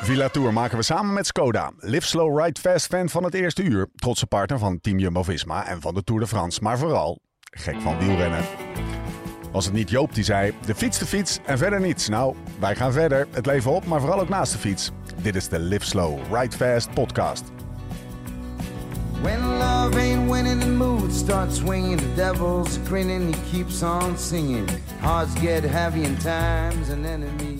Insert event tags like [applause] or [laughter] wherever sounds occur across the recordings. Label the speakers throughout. Speaker 1: Villa Tour maken we samen met Skoda. Live Slow Ride Fast fan van het eerste uur. Trotse partner van Team Jumbo-Visma en van de Tour de France. Maar vooral gek van wielrennen. Was het niet Joop die zei, de fiets de fiets en verder niets. Nou, wij gaan verder. Het leven op, maar vooral ook naast de fiets. Dit is de Live Slow Ride Fast podcast.
Speaker 2: When love ain't winning, the mood starts swinging. The devil's grinning, he keeps on singing. Hearts get heavy and time's an enemy.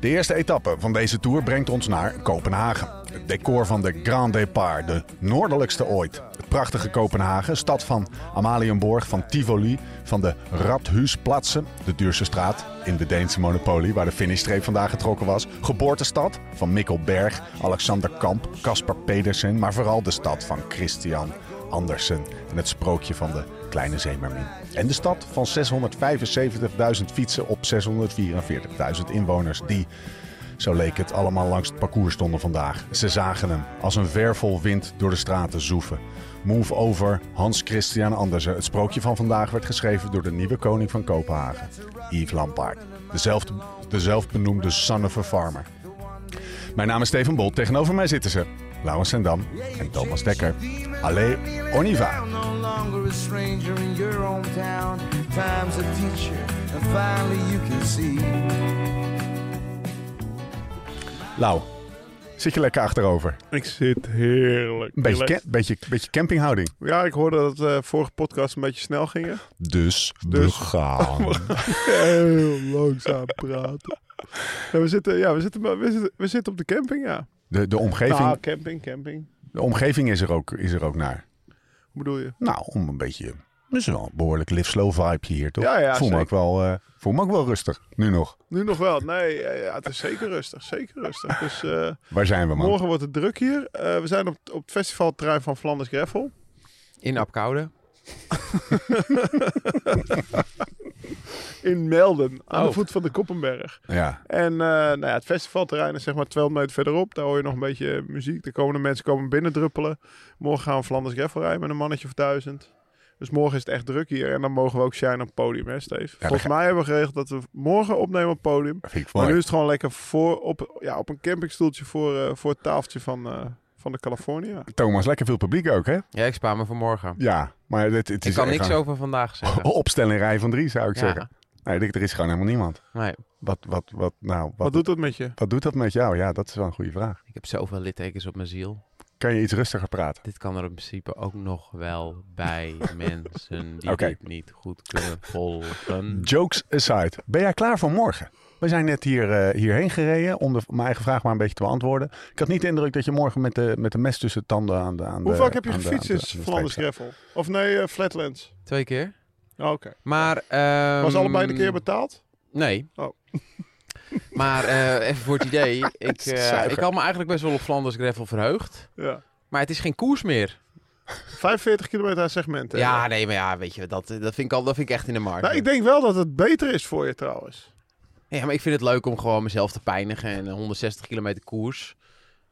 Speaker 1: De eerste etappe van deze tour brengt ons naar Kopenhagen. Het decor van de Grand Départ, de noordelijkste ooit. Het prachtige Kopenhagen, stad van Amalienborg, van Tivoli, van de Radhuisplatsen, de duurste straat in de Deense monopolie waar de finishstreep vandaag getrokken was. Geboortestad van Mikkel Berg, Alexander Kamp, Caspar Pedersen, maar vooral de stad van Christian Andersen en het sprookje van de Kleine Zeemermin. En de stad van 675.000 fietsen op 644.000 inwoners die zo leek het allemaal langs het parcours stonden vandaag. Ze zagen hem als een wervel wind door de straten zoeven. Move over Hans Christian Andersen. Het sprookje van vandaag werd geschreven door de nieuwe koning van Kopenhagen, Yves Lampaard. Dezelfde, de zelfbenoemde son of a farmer. Mijn naam is Steven Bolt. Tegenover mij zitten ze Laurens Sendam en Thomas Dekker. Allee, on y va.
Speaker 2: Down, no longer a stranger in your hometown. Time's a teacher, and finally you can see.
Speaker 1: Lau, zit je lekker achterover?
Speaker 3: Ik zit heerlijk.
Speaker 1: Een beetje,
Speaker 3: relaxed.
Speaker 1: cam- beetje, beetje campinghouding.
Speaker 3: Ja, ik hoorde dat de vorige podcast een beetje snel gingen.
Speaker 1: Dus,
Speaker 3: Dus-
Speaker 1: we
Speaker 3: [laughs]
Speaker 1: gaan.
Speaker 3: Heel langzaam praten. [laughs] Ja, we, zitten, ja, we, zitten, we, zitten, we zitten op de camping, ja.
Speaker 1: De, de,
Speaker 3: Nou,
Speaker 1: omgeving,
Speaker 3: camping, camping.
Speaker 1: de omgeving is er ook, is er ook naar.
Speaker 3: Hoe bedoel je?
Speaker 1: Nou, om een beetje. Dat is wel een behoorlijk live slow vibe hier, toch?
Speaker 3: Ja, ja,
Speaker 1: voel, me
Speaker 3: zeker.
Speaker 1: ook wel, eh, voel me ook wel rustig. Nu nog.
Speaker 3: Nu nog wel. Nee, ja, ja, het is zeker rustig. Zeker rustig. Dus eh,
Speaker 1: Waar zijn we, man?
Speaker 3: morgen wordt het druk hier. Eh, we zijn op, op het festivalterrein van Flanders Greffel.
Speaker 4: In Apkoude.
Speaker 3: In Melden, aan de
Speaker 4: Oh.
Speaker 3: voet van de Koppenberg.
Speaker 1: Ja.
Speaker 3: En eh, nou ja, het festivalterrein is zeg maar 200 meter verderop. Daar hoor je nog een beetje muziek. Daar komen de mensen komen binnendruppelen. Morgen gaan we Flanders Greffel rijden met een mannetje of duizend. Dus morgen is het echt druk hier. En dan mogen we ook shine op het podium, hè Steve?
Speaker 1: dan
Speaker 3: Volgens
Speaker 1: ga-
Speaker 3: mij hebben we geregeld dat we morgen opnemen op het podium.
Speaker 1: Dat vind ik
Speaker 3: Maar
Speaker 1: mooi.
Speaker 3: nu is het gewoon lekker voor, op, ja, op een campingstoeltje voor, eh, voor het tafeltje van, eh, van de California.
Speaker 1: Thomas, lekker veel publiek ook, hè?
Speaker 4: Ja, ik spaar me voor morgen.
Speaker 1: Ja, maar het, het is
Speaker 4: Ik kan
Speaker 1: echt
Speaker 4: niks
Speaker 1: een
Speaker 4: over
Speaker 1: [laughs]
Speaker 4: vandaag zeggen.
Speaker 1: opstelling rij van drie, zou ik
Speaker 4: Ja.
Speaker 1: zeggen. Nee, ik denk, er is gewoon helemaal niemand.
Speaker 4: Nee,
Speaker 1: Wat, wat, wat, nou, wat,
Speaker 3: Wat doet dat met je?
Speaker 1: wat doet dat met jou? Ja, dat is wel een goede vraag.
Speaker 4: ik heb zoveel littekens op mijn ziel.
Speaker 1: Kan je iets rustiger praten?
Speaker 4: Dit kan er in principe ook nog wel
Speaker 1: [laughs]
Speaker 4: bij mensen die
Speaker 1: Oké.
Speaker 4: dit niet goed
Speaker 1: [laughs]
Speaker 4: kunnen volgen.
Speaker 1: Jokes aside, ben jij klaar voor morgen? We zijn net hier, eh, hierheen gereden om de, mijn eigen vraag maar een beetje te beantwoorden. Ik had niet de indruk dat je morgen met de, met de mes tussen de tanden aan de aan
Speaker 3: Hoe
Speaker 1: de-
Speaker 3: vaak heb je
Speaker 1: aan de-
Speaker 3: gefietst
Speaker 1: aan
Speaker 3: in
Speaker 1: de- aan de
Speaker 3: Flanders
Speaker 1: streep
Speaker 3: Greffel? Of nee, eh, Flatlands.
Speaker 4: Twee keer.
Speaker 3: Oh, Oké.
Speaker 4: Maar... ehm,
Speaker 3: Was allebei de keer betaald?
Speaker 4: Nee.
Speaker 3: Oh.
Speaker 4: [laughs] Maar eh, even voor het idee.
Speaker 1: [laughs]
Speaker 4: Ik, eh,
Speaker 1: Zuiver.
Speaker 4: ik had me eigenlijk best wel op Flanders Gravel verheugd.
Speaker 3: Ja.
Speaker 4: Maar het is geen koers meer.
Speaker 3: 45 kilometer aan segmenten.
Speaker 4: Ja, nee, maar ja, weet je, dat, dat, vind, ik al, dat vind ik echt in de markt.
Speaker 3: Nou, ik denk wel dat het beter is voor je trouwens.
Speaker 4: Ja, maar ik vind het leuk om gewoon mezelf te pijnigen en een 160 kilometer koers.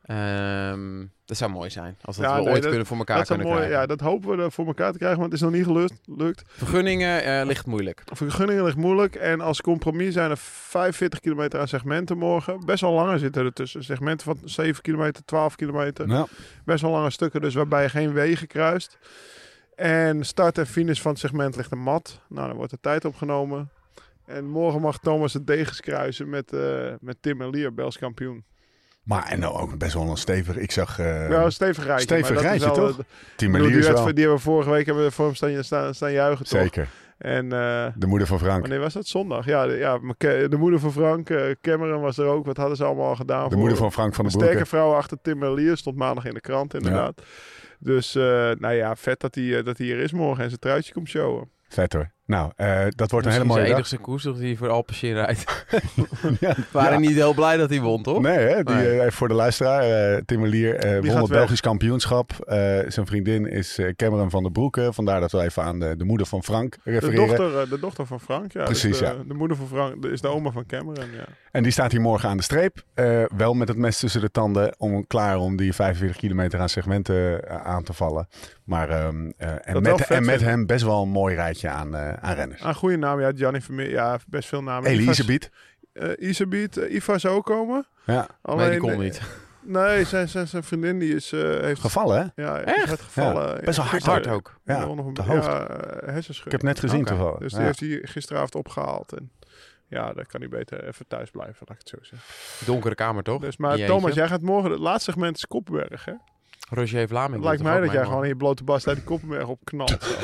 Speaker 4: Ehm, dat zou mooi zijn. Als dat
Speaker 3: Ja,
Speaker 4: we
Speaker 3: nee,
Speaker 4: ooit
Speaker 3: dat-
Speaker 4: kunnen voor elkaar
Speaker 3: Dat, zou
Speaker 4: kunnen
Speaker 3: mooi,
Speaker 4: krijgen.
Speaker 3: ja, dat hopen we er voor elkaar te krijgen, want het is nog niet gelukt. Lukt.
Speaker 4: Vergunningen eh, ligt moeilijk.
Speaker 3: Vergunningen ligt moeilijk. En als compromis zijn er 45 kilometer aan segmenten morgen. Best wel lange zitten er tussen. Segmenten van 7 kilometer, 12 kilometer.
Speaker 1: Nou,
Speaker 3: Best wel lange stukken, dus waarbij je geen wegen kruist. En start en finish van het segment ligt een mat. Nou, dan wordt de tijd opgenomen. En morgen mag Thomas de degens kruisen met, eh, met Tim en Lier, Bels kampioen.
Speaker 1: maar en nou ook best wel een stevig. Ik zag eh
Speaker 3: ja, een stevig rijtje. maar
Speaker 1: stevig
Speaker 3: dat is
Speaker 1: rijtje,
Speaker 3: wel
Speaker 1: toch?
Speaker 3: de-
Speaker 1: Tim
Speaker 3: Ik bedoel,
Speaker 1: Eliers
Speaker 3: die,
Speaker 1: wel.
Speaker 3: werd, die hebben we vorige week hebben we voor hem staan, staan, staan juichen, toch?
Speaker 1: Zeker.
Speaker 3: En eh,
Speaker 1: De moeder van Frank.
Speaker 3: wanneer was dat? Zondag? Ja, de, ja, maar Ke- de moeder van Frank, eh, Cameron was er ook. Wat hadden ze allemaal al gedaan?
Speaker 1: De
Speaker 3: voor
Speaker 1: moeder
Speaker 3: hem?
Speaker 1: van Frank van
Speaker 3: Een
Speaker 1: de
Speaker 3: sterke
Speaker 1: Broeke.
Speaker 3: vrouw achter Tim Merlier stond maandag in de krant, inderdaad. Dus, eh, nou ja, vet dat hij, eh, dat hij hier is morgen en zijn truitje komt showen.
Speaker 1: Vet hoor. Nou, eh, dat wordt een hele
Speaker 4: Misschien
Speaker 1: mooie
Speaker 4: zijn
Speaker 1: dag.
Speaker 4: enigste koers toch die voor Alpecin rijdt.
Speaker 1: [laughs] Ja,
Speaker 4: waren
Speaker 1: ja.
Speaker 4: niet heel blij dat hij won, toch?
Speaker 1: Nee, hè? Die,
Speaker 4: Nee.
Speaker 1: eh, even voor de luisteraar. eh Tim Elier eh, won
Speaker 3: gaat
Speaker 1: het
Speaker 3: weg?
Speaker 1: Belgisch kampioenschap. Eh, zijn vriendin is eh, Cameron van der Broeke. Vandaar dat we even aan de, de moeder van Frank
Speaker 3: De
Speaker 1: refereren.
Speaker 3: dochter, eh, de dochter van Frank, ja. dus
Speaker 1: Precies,
Speaker 3: de,
Speaker 1: ja.
Speaker 3: De moeder van Frank de- is de oma van Cameron, ja.
Speaker 1: En die staat hier morgen aan de streep. eh, wel met het mes tussen de tanden. Om, klaar om die 45 kilometer aan segmenten eh, aan te vallen. Maar ehm, eh, en,
Speaker 3: Dat
Speaker 1: met,
Speaker 3: wel vet
Speaker 1: en met
Speaker 3: vind ik.
Speaker 1: hem best
Speaker 3: Ah,
Speaker 1: wel een mooi rijtje aan, eh, aan renners.
Speaker 3: Een goede naam, ja. Gianni Vermeer, ja, best veel namen.
Speaker 1: Elisabeth.
Speaker 3: Eh, eh Isabiet, eh, Iva zou ook komen.
Speaker 1: Ja.
Speaker 3: Alleen, eh,
Speaker 4: nee, die komt niet.
Speaker 3: Nee, zijn, zijn, zijn vriendin die is, eh, heeft
Speaker 1: Gevallen, hè?
Speaker 3: ja, is
Speaker 4: Echt?
Speaker 3: [laughs] hard gevallen.
Speaker 1: Ja, best wel hard,
Speaker 4: Hard ook.
Speaker 1: Ja,
Speaker 3: nog een
Speaker 1: op de
Speaker 3: ja,
Speaker 1: hoogte.
Speaker 3: eh, hersenschudding.
Speaker 1: Ik heb net gezien
Speaker 4: Oké.
Speaker 1: toevallig.
Speaker 3: Dus
Speaker 1: Ja.
Speaker 3: die heeft hij gisteravond opgehaald. En ja, dan kan hij beter even thuis blijven, laat ik het zo zeggen.
Speaker 4: Donkere kamer, toch?
Speaker 3: Dus, maar
Speaker 4: In je
Speaker 3: Thomas,
Speaker 4: eentje.
Speaker 3: jij gaat morgen... Het laatste segment is Koppenberg, hè?
Speaker 4: Roger Vlaming.
Speaker 3: Lijkt
Speaker 4: doet
Speaker 3: mij
Speaker 4: er
Speaker 3: dat
Speaker 4: ook
Speaker 3: jij
Speaker 4: mee,
Speaker 3: gewoon
Speaker 4: man.
Speaker 3: in je blote bast uit die Koppenberg op
Speaker 4: [laughs]
Speaker 3: knalt. zo.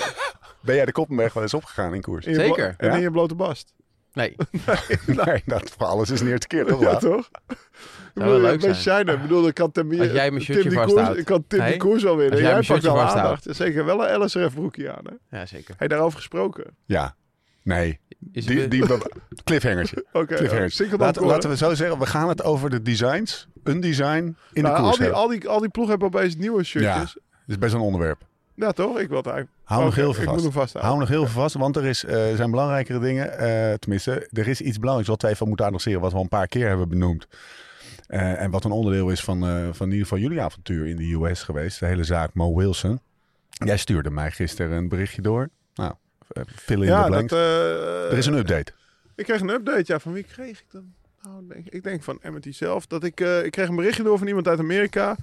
Speaker 1: Ben jij de Koppenberg wel eens opgegaan in koers?
Speaker 3: In je blo-
Speaker 4: Zeker.
Speaker 3: En
Speaker 1: Ja.
Speaker 3: in je blote bast.
Speaker 4: Nee,
Speaker 1: [laughs] Nee, dat voor alles is niet eerste keer, toch?
Speaker 3: Ja,
Speaker 1: Laat?
Speaker 4: [laughs]
Speaker 3: toch? Ik
Speaker 4: wel leuk
Speaker 3: ben
Speaker 4: zijn.
Speaker 3: shiner. Ik bedoel, dan kan Tim,
Speaker 4: Als jij mijn
Speaker 3: Tim
Speaker 4: shirtje
Speaker 3: die koers,
Speaker 4: vasthoudt.
Speaker 3: ik kan Tim
Speaker 4: Nee?
Speaker 3: die koers wel winnen.
Speaker 4: Als
Speaker 3: Jij,
Speaker 4: jij mijn
Speaker 3: pakt wel
Speaker 4: shirtje vasthoudt.
Speaker 3: aandacht. Zeker wel een LSRF broekje aan, hè?
Speaker 4: ja, zeker.
Speaker 3: Hey, daarover gesproken.
Speaker 1: Ja. Nee.
Speaker 4: Is
Speaker 1: Die,
Speaker 4: het-
Speaker 1: die, [laughs] dat cliffhangertje.
Speaker 3: Oké, eh, okay,
Speaker 1: cliffhangertje. Laten- laten we zo zeggen, we gaan het over de designs, een design in de
Speaker 3: nou,
Speaker 1: koers
Speaker 3: al, die,
Speaker 1: hebben.
Speaker 3: al, die, al die ploeg hebben opeens nieuwe shirtjes. Ja,
Speaker 1: Dat is best een onderwerp.
Speaker 3: toch? Ik wil het eigenlijk...
Speaker 1: Hou nog
Speaker 3: Oké,
Speaker 1: heel veel
Speaker 3: Ik
Speaker 1: vast.
Speaker 3: moet Nou. hem vasthouden.
Speaker 1: Hou nog heel veel vast, want er is, eh, zijn belangrijkere dingen. eh, tenminste, er is iets belangrijks wat wij even moeten adresseren, wat we al een paar keer hebben benoemd. Eh, en wat een onderdeel is van, eh, van in ieder geval jullie avontuur in de US geweest. De hele zaak Mo Wilson. Jij stuurde mij gisteren een berichtje door. Nou, eh, fill in
Speaker 3: ja,
Speaker 1: the
Speaker 3: dat,
Speaker 1: blanks.
Speaker 3: eh,
Speaker 1: er is een update.
Speaker 3: Ik kreeg een update, ja. Van wie kreeg ik dan? Nou, denk, ik denk van Amity zelf. Dat ik, eh, ik kreeg een berichtje door van iemand uit Amerika.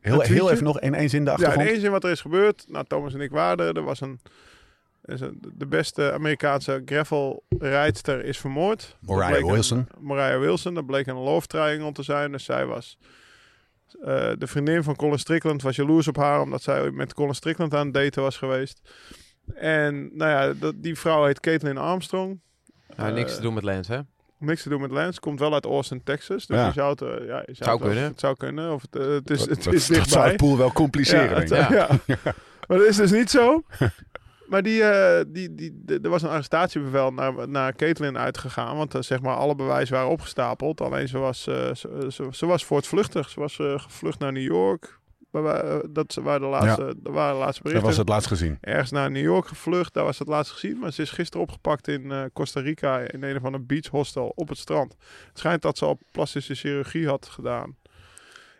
Speaker 1: Heel,
Speaker 3: tweetje?
Speaker 1: heel even nog in één zin de
Speaker 3: Ja,
Speaker 1: achtergrond.
Speaker 3: in één zin wat er is gebeurd. Nou, Thomas en ik waren er. Er was een... er is een- De beste Amerikaanse gravelrijdster is vermoord. Dat
Speaker 1: Mariah
Speaker 3: bleek een-
Speaker 1: Wilson.
Speaker 3: Mariah Wilson. Dat bleek een love triangle te zijn. Dus zij was... eh, de vriendin van Colin Strickland was jaloers op haar... omdat zij met Colin Strickland aan het daten was geweest. En nou ja, dat, die vrouw heet Caitlin Armstrong. Eh,
Speaker 4: Nou, niks te doen met Lens, hè?
Speaker 3: Niks te doen met Lens. Komt wel uit Austin, Texas. Dus
Speaker 1: Ja.
Speaker 3: je zou het, eh, ja, je zou
Speaker 4: Zou
Speaker 3: het wel-
Speaker 4: kunnen.
Speaker 3: Het zou kunnen. Of het, eh, het is,
Speaker 1: Dat-
Speaker 3: het
Speaker 1: dat-
Speaker 3: is
Speaker 1: dat zou
Speaker 3: dichtbij.
Speaker 1: het pool wel compliceren.
Speaker 3: ja,
Speaker 1: denk ik.
Speaker 4: het-
Speaker 3: het- ja. [laughs] Maar dat is dus niet zo. Maar die, eh, die, die, de- er was een arrestatiebevel naar, naar Caitlin uitgegaan. Want eh, zeg maar alle bewijzen waren opgestapeld. Alleen ze was, eh ze, ze, ze was voortvluchtig. Ze was eh, gevlucht naar New York. Maar wa- eh, dat ze- waren de laatste, dat waren de
Speaker 1: dat
Speaker 3: laatste berichten
Speaker 1: was het laatst gezien.
Speaker 3: ergens naar New York gevlucht. Daar was het laatst gezien. Maar ze is gisteren opgepakt in eh, Costa Rica in een of ander beach hostel op het strand. Het schijnt dat ze al plastische chirurgie had gedaan.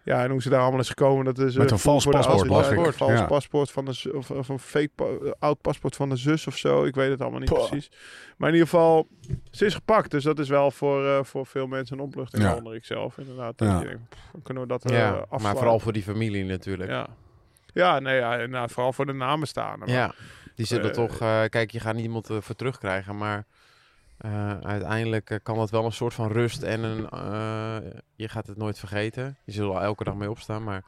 Speaker 3: Ja, en hoe ze daar allemaal is gekomen, dat is... eh,
Speaker 1: Met een
Speaker 3: voer
Speaker 1: vals
Speaker 3: voor de
Speaker 1: paspoort,
Speaker 3: autoriteit.
Speaker 1: las ik.
Speaker 3: Een vals
Speaker 1: Ja.
Speaker 3: paspoort van een, zu- of, of een fake pa- eh, oud paspoort van de zus of zo. Ik weet het allemaal niet
Speaker 1: Pah.
Speaker 3: precies. Maar in ieder geval, ze is gepakt. Dus dat is wel voor, eh, voor veel mensen een opluchting.
Speaker 1: Ja.
Speaker 3: Waaronder ik zelf, inderdaad. Dat
Speaker 1: Ja.
Speaker 3: je denkt, pff, dan kunnen we dat eh,
Speaker 4: Ja, maar
Speaker 3: afslaan.
Speaker 4: vooral voor die familie natuurlijk.
Speaker 3: Ja, ja, nee, ja en, nou, vooral voor de namenstaanden. Maar
Speaker 4: Ja, die zullen
Speaker 3: Eh,
Speaker 4: toch... eh, kijk, je gaat niemand eh, voor terugkrijgen, maar... eh, uiteindelijk eh, kan dat wel een soort van rust en een... eh, je gaat het nooit vergeten. Je zult er wel elke dag mee opstaan, maar...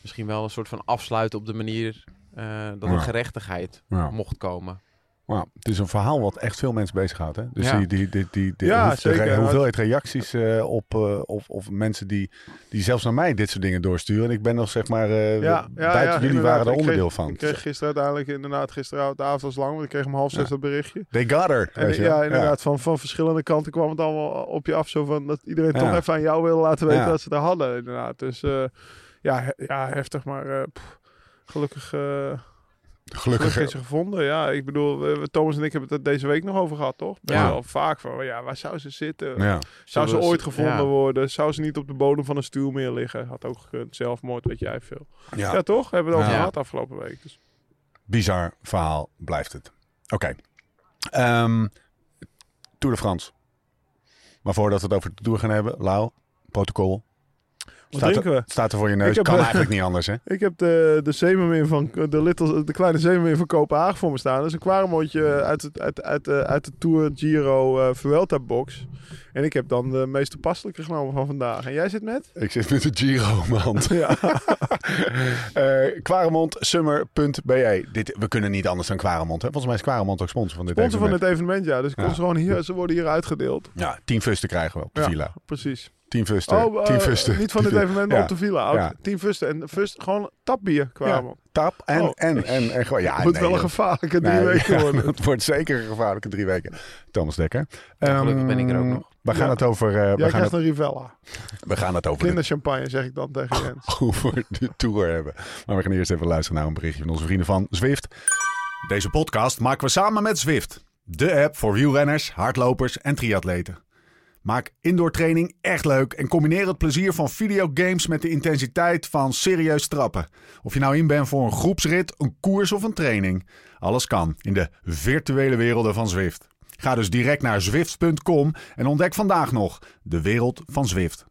Speaker 4: Misschien wel een soort van afsluiten op de manier... eh, dat
Speaker 1: Ja.
Speaker 4: er gerechtigheid
Speaker 1: Ja.
Speaker 4: mocht komen.
Speaker 1: Nou, het is een verhaal wat echt veel mensen bezighoudt. Hè? Dus
Speaker 4: Ja.
Speaker 1: die, die, die, die, die-
Speaker 3: Ja,
Speaker 1: hoeft- de
Speaker 3: zeker.
Speaker 1: re- hoeveelheid reacties eh, op, eh, of, of mensen die, die zelfs naar mij dit soort dingen doorsturen. En ik ben nog zeg maar, eh,
Speaker 3: Ja, ja,
Speaker 1: buiten
Speaker 3: ja,
Speaker 1: jullie
Speaker 3: inderdaad.
Speaker 1: waren er
Speaker 3: Ik kreeg-
Speaker 1: onderdeel van.
Speaker 3: Ik kreeg gisteren uiteindelijk, inderdaad, gisteravond, de avond was lang, want ik kreeg om half zes
Speaker 1: Ja.
Speaker 3: dat berichtje.
Speaker 1: They got her.
Speaker 3: En
Speaker 1: weet je wel.
Speaker 3: ja, inderdaad, Van, van verschillende kanten kwam het allemaal op je af, zo van dat iedereen toch
Speaker 1: Ja.
Speaker 3: even aan jou wilde laten weten
Speaker 1: Ja.
Speaker 3: dat ze er hadden, inderdaad. Dus eh, ja, he- ja, heftig, maar eh, pff, gelukkig, eh, gelukkig
Speaker 1: Ja, Gelukkig.
Speaker 3: is ze gevonden. Ja, ik bedoel, we- we- Thomas en ik hebben het er deze week nog over gehad, toch? Best
Speaker 4: Ja.
Speaker 3: wel vaak van, ja, waar zou ze zitten?
Speaker 1: Ja.
Speaker 3: Zou ze
Speaker 4: Zullen we-
Speaker 3: ooit gevonden
Speaker 4: ja.
Speaker 3: worden? Zou ze niet op de bodem van een stuw meer liggen? Had ook gekund, zelfmoord, weet jij veel. Ja, toch? Hebben we het over
Speaker 4: Ja.
Speaker 3: gehad afgelopen week. Dus.
Speaker 1: bizar verhaal blijft het. Oké. Ehm, Tour de France. Maar voordat we het over de Tour gaan hebben, Lau, protocol. Staat
Speaker 3: drinken
Speaker 1: er,
Speaker 3: we?
Speaker 1: staat er voor je neus.
Speaker 3: Ik heb,
Speaker 1: kan
Speaker 3: eh,
Speaker 1: eigenlijk niet anders,
Speaker 3: [laughs]
Speaker 1: hè?
Speaker 3: Ik heb de, de zeemermin van de, little, de kleine zeemermin van Kopenhagen voor me staan. Dat is een kwaremontje uit, het- uit, uit, de- uit de Tour Giro eh Vuelta box. En ik heb dan de meest toepasselijke genomen van vandaag. En jij zit met?
Speaker 1: Ik zit met de Giro in mijn hand.
Speaker 3: [laughs] Ja.
Speaker 1: [laughs] Eh Quaremont.summer.be. Dit, we kunnen niet anders dan Quaremont. Hè? Volgens mij is Quaremont ook sponsor van dit
Speaker 3: Sponsor van
Speaker 1: evenement.
Speaker 3: dit evenement, ja. Dus ik kon
Speaker 1: Ja.
Speaker 3: ze gewoon hier, ze worden hier uitgedeeld.
Speaker 1: Ja, tien fusten krijgen we op de
Speaker 3: Ja.
Speaker 1: villa.
Speaker 3: Precies.
Speaker 1: Tien fusten.
Speaker 3: eh,
Speaker 1: tien fusten.
Speaker 3: niet van
Speaker 1: Tien
Speaker 3: dit
Speaker 1: fusten.
Speaker 3: evenement,
Speaker 1: Ja.
Speaker 3: maar op de villa. Ook
Speaker 1: Ja.
Speaker 3: Tien fusten. En fust, gewoon tapbier kwamen.
Speaker 1: Tap en,
Speaker 3: Oh.
Speaker 1: en, en, en gewoon... Ja,
Speaker 3: Het moet
Speaker 1: Ah, nee,
Speaker 3: wel een
Speaker 1: joh.
Speaker 3: gevaarlijke drie
Speaker 1: Nee,
Speaker 3: weken
Speaker 1: ja, [laughs]
Speaker 3: worden.
Speaker 1: Het wordt zeker een gevaarlijke drie weken. Thomas Dekker.
Speaker 4: gelukkig ben ik er ook
Speaker 1: Ehm,
Speaker 4: nog.
Speaker 1: We gaan
Speaker 3: Ja.
Speaker 1: het over, eh,
Speaker 3: Jij
Speaker 1: we gaan
Speaker 3: krijgt
Speaker 1: het,
Speaker 3: een Rivella.
Speaker 1: we gaan het over, de,
Speaker 3: Kinderchampagne, zeg ik dan tegen Jens.
Speaker 1: [laughs] over de tour hebben. Maar we gaan eerst even luisteren naar een berichtje van onze vrienden van Zwift. Deze podcast maken we samen met Zwift. De app voor wielrenners, hardlopers en triatleten. Maak indoor training echt leuk en combineer het plezier van videogames met de intensiteit van serieus trappen. Of je nou in bent voor een groepsrit, een koers of een training. Alles kan in de virtuele werelden van Zwift. Ga dus direct naar Zwift.com en ontdek vandaag nog de wereld van Zwift.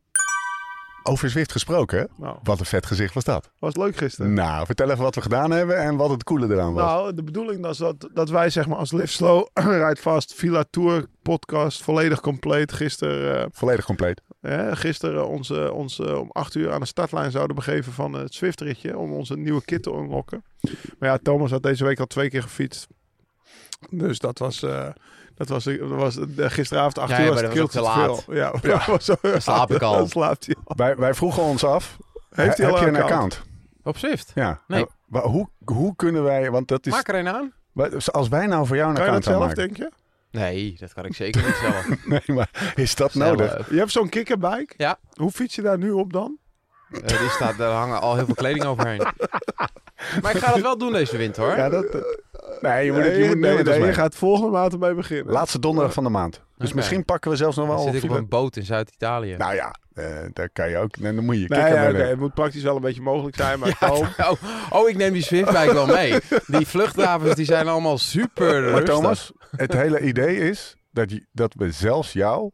Speaker 1: Over Zwift gesproken,
Speaker 3: Nou,
Speaker 1: wat een vet gezicht was dat.
Speaker 3: was leuk gisteren.
Speaker 1: Nou, vertel even wat we gedaan hebben en wat het coole eraan was.
Speaker 3: Nou, de bedoeling was dat, dat wij zeg maar als Live Slow, [clears throat] Ride Fast, Villa Tour podcast volledig compleet gisteren... eh,
Speaker 1: Volledig compleet.
Speaker 3: Hè, gisteren ons, eh, ons eh, om acht uur aan de startlijn zouden begeven van eh, het Zwiftritje. Om onze nieuwe kit te unlocken. Maar ja, Thomas had deze week al twee keer gefietst. Dus dat was, eh, dat was, dat was eh, gisteravond acht
Speaker 4: Ja,
Speaker 3: uur
Speaker 4: ja,
Speaker 3: was
Speaker 4: maar
Speaker 3: het
Speaker 4: dat was
Speaker 3: keeltje
Speaker 4: ook
Speaker 3: te
Speaker 4: te
Speaker 3: veel. Ja, [laughs] dat was zo-
Speaker 4: Dan slaap ik al.
Speaker 3: [laughs] Dan slaapt hij al.
Speaker 1: Wij, wij vroegen ons af,
Speaker 3: Heeft
Speaker 1: he-
Speaker 3: hij al
Speaker 1: heb je
Speaker 3: een
Speaker 1: een
Speaker 3: account?
Speaker 1: account?
Speaker 4: Op Zwift.
Speaker 1: Ja.
Speaker 4: Nee.
Speaker 1: Eh, wa- hoe, hoe kunnen wij, want dat is,
Speaker 4: Maak er een aan.
Speaker 1: wa- als wij nou voor jou een
Speaker 3: Kan je dat
Speaker 1: account gaan
Speaker 3: zelf,
Speaker 1: maken.
Speaker 3: denk je?
Speaker 4: Nee, dat kan ik zeker niet eh, zelf.
Speaker 1: [laughs] Nee, maar is dat nodig?
Speaker 4: Zelf.
Speaker 3: Je hebt zo'n kikkerbike.
Speaker 4: Ja.
Speaker 3: Hoe fiets je daar nu op dan?
Speaker 4: Eh, die staat, daar hangen al heel veel kleding
Speaker 1: [laughs]
Speaker 4: overheen. maar ik ga dat wel doen deze winter hoor.
Speaker 1: Ja, dat, nee, je moet, het-
Speaker 3: Nee,
Speaker 1: je moet
Speaker 3: nee,
Speaker 1: nee,
Speaker 3: nee, je gaat volgende maand ermee beginnen.
Speaker 1: Laatste donderdag van de maand. Dus
Speaker 4: Oké.
Speaker 1: misschien pakken we zelfs nog
Speaker 4: Dan
Speaker 1: wel...
Speaker 4: zit ik op
Speaker 1: Philip-
Speaker 4: een boot in Zuid-Italië.
Speaker 1: Nou ja, eh, daar kan je ook. Nee, dan moet je
Speaker 3: Nee,
Speaker 1: kikken
Speaker 3: ja,
Speaker 1: bij
Speaker 3: oké,
Speaker 1: de-
Speaker 3: het moet praktisch wel een beetje mogelijk
Speaker 1: [laughs]
Speaker 3: zijn. Maar
Speaker 4: Ja,
Speaker 3: Tom,
Speaker 4: [laughs] oh, oh, ik neem die Zwiftbike wel mee. Die vluchthavens die zijn allemaal super
Speaker 1: Maar
Speaker 4: rustig.
Speaker 1: Thomas, het hele idee is dat, je, dat we zelfs jou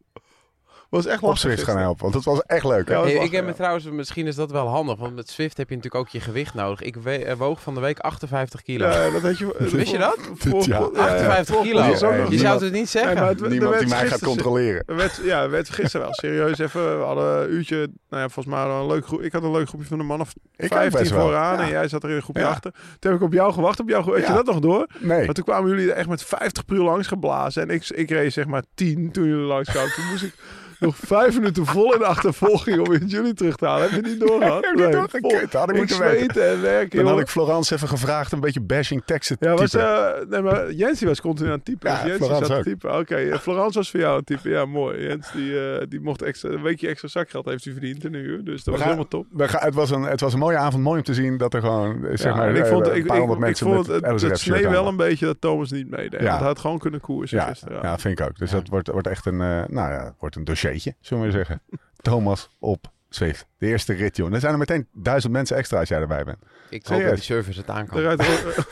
Speaker 3: was echt
Speaker 1: op
Speaker 3: lastig
Speaker 1: Zwift gaan
Speaker 3: gisteren.
Speaker 1: helpen. Want dat was echt leuk. hè?
Speaker 3: Ja,
Speaker 4: Hey,
Speaker 3: lachen,
Speaker 4: ik heb me
Speaker 3: ja.
Speaker 4: trouwens, misschien is dat wel handig, want met Zwift heb je natuurlijk ook je gewicht nodig. Ik we- eh, woog van de week 58 kilo.
Speaker 3: Ja, dat
Speaker 1: [laughs]
Speaker 3: had je,
Speaker 4: Wist je
Speaker 3: [laughs]
Speaker 4: dat?
Speaker 3: Voor,
Speaker 1: Ja.
Speaker 4: 58 kilo.
Speaker 1: dat is ook nog
Speaker 4: je
Speaker 1: niemand-
Speaker 4: zou het niet zeggen.
Speaker 1: Niemand die mij gaat controleren.
Speaker 3: Werd, ja, er werd gisteren wel serieus even. We hadden een uurtje, nou ja, volgens mij hadden we een leuk groep. Ik had een leuk groepje van de man of
Speaker 1: Ik ook
Speaker 3: 15
Speaker 1: best wel.
Speaker 3: vooraan
Speaker 1: Ja.
Speaker 3: en jij zat er in een groepje
Speaker 1: Ja.
Speaker 3: achter. Toen heb ik op jou gewacht, op jou ge- had
Speaker 1: Ja.
Speaker 3: je dat nog door?
Speaker 1: Nee,
Speaker 3: Maar toen kwamen jullie er echt met 50 per uur langs geblazen en ik, ik reed zeg maar 10 toen jullie langs kwamen. Toen moest ik nog vijf minuten vol in de achtervolging om jullie terug te halen. Heb je niet doorgehad?
Speaker 1: heb ik niet doorgekund.
Speaker 3: vol.
Speaker 1: Dat had ik
Speaker 3: ik
Speaker 1: moeten weten.
Speaker 3: zweten en werken.
Speaker 1: dan had
Speaker 3: jongen.
Speaker 1: ik Florence even gevraagd een beetje bashing teksten te
Speaker 3: Ja, was,
Speaker 1: typen.
Speaker 3: eh nee, maar Jensie was continu aan het typen.
Speaker 1: Ja,
Speaker 3: Dus Jensie
Speaker 1: Florence
Speaker 3: zat te
Speaker 1: ook.
Speaker 3: typen. Oké, eh, Florence was voor jou een type. Ja, mooi. Jens, die, eh, die mocht extra, een weekje extra zakgeld heeft hij verdiend in een uur. Dus dat was
Speaker 1: gaan-
Speaker 3: helemaal top.
Speaker 1: We gaan- het, was een, het was een mooie avond, mooi om te zien dat er gewoon eh, zeg
Speaker 3: Ja,
Speaker 1: maar,
Speaker 3: en ik vond,
Speaker 1: eh,
Speaker 3: ik,
Speaker 1: een paar
Speaker 3: ik-
Speaker 1: honderd
Speaker 3: ik
Speaker 1: mensen
Speaker 3: vond
Speaker 1: met
Speaker 3: het, het
Speaker 1: LSRF shirt
Speaker 3: snee
Speaker 1: aan
Speaker 3: wel
Speaker 1: hadden.
Speaker 3: een beetje dat Thomas niet meedeed.
Speaker 1: Ja.
Speaker 3: Want hij had gewoon kunnen koersen
Speaker 1: Ja,
Speaker 3: gisteren.
Speaker 1: ja, vind ik ook. Dus dat, wordt, wordt echt een, eh, nou ja, het wordt een dossiertje, zullen we maar zeggen. Thomas op Zwift. De eerste rit, joh. Dan zijn er meteen duizend mensen extra als jij erbij bent.
Speaker 4: Ik hoop dat
Speaker 1: Serieus?
Speaker 4: die service het aan kan.
Speaker 3: Eruit er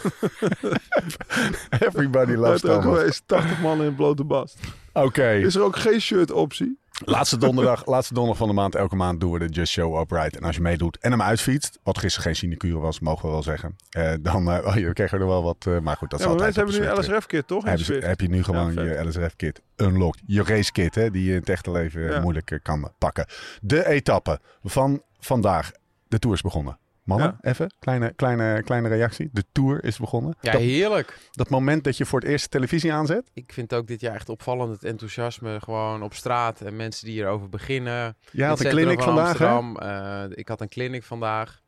Speaker 1: Everybody loves
Speaker 3: uit ook
Speaker 1: Thomas.
Speaker 3: geweest. 80 man in blote bast.
Speaker 1: Oké,
Speaker 3: Is er ook geen shirt optie?
Speaker 1: laatste, donderdag, laatste donderdag van de maand. Elke maand doen we de Just Show Upright. En als je meedoet en hem uitfietst, wat gisteren geen sinecure was, mogen we wel zeggen. eh, dan eh, oh, je kreeg er wel wat, eh, maar goed, dat
Speaker 3: Ja,
Speaker 1: is
Speaker 3: maar
Speaker 1: altijd
Speaker 3: mensen hebben
Speaker 1: op
Speaker 3: nu
Speaker 1: een Zwift
Speaker 3: LSRF kit toch?
Speaker 1: rit.
Speaker 3: In
Speaker 1: Hebben ze-
Speaker 3: Zwift.
Speaker 1: Heb je nu gewoon
Speaker 3: vet.
Speaker 1: je LSRF-kit unlocked. Je race-kit, hè, die je in het echte leven eh,
Speaker 3: Ja.
Speaker 1: moeilijk eh, kan pakken. De etappe van vandaag. De Tour is begonnen. Mannen, even, kleine, kleine, kleine reactie. De Tour is begonnen.
Speaker 4: Ja,
Speaker 1: dat,
Speaker 4: heerlijk.
Speaker 1: dat moment dat je voor het eerst de televisie aanzet.
Speaker 4: Ik vind ook dit jaar echt opvallend het enthousiasme gewoon op straat en mensen die hierover beginnen.
Speaker 1: Jij had
Speaker 4: Het
Speaker 1: een
Speaker 4: centrum
Speaker 1: clinic
Speaker 4: van
Speaker 1: vandaag, hè?
Speaker 4: Amsterdam, eh, ik had een clinic vandaag.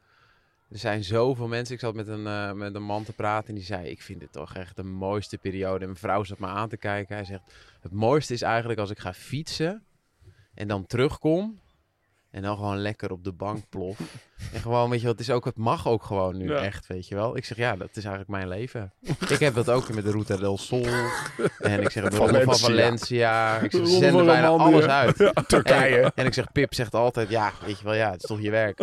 Speaker 4: Er zijn zoveel mensen. Ik zat met een, eh, met een man te praten en die zei: Ik vind dit toch echt de mooiste periode. En mijn vrouw zat me aan te kijken. Hij zegt: Het mooiste is eigenlijk als ik ga fietsen en dan terugkom. En dan gewoon lekker op de bank
Speaker 1: [laughs]
Speaker 4: plof. En gewoon, weet je wel, het, is ook, het mag ook gewoon nu
Speaker 3: Ja.
Speaker 4: echt, weet je wel. Ik zeg, ja, dat is eigenlijk mijn leven. [laughs] ik heb dat ook met de Route del Sol. En ik zeg, de Ronde van
Speaker 1: Valencia.
Speaker 4: Valencia. Ik zeg,
Speaker 3: De
Speaker 4: ze
Speaker 3: Ronde
Speaker 4: zenden
Speaker 3: van
Speaker 4: bijna
Speaker 3: Romandie,
Speaker 4: alles
Speaker 3: hè?
Speaker 4: uit.
Speaker 1: Turkije.
Speaker 4: En, en ik zeg, Pip zegt altijd, ja, weet je wel, ja, het is toch je werk.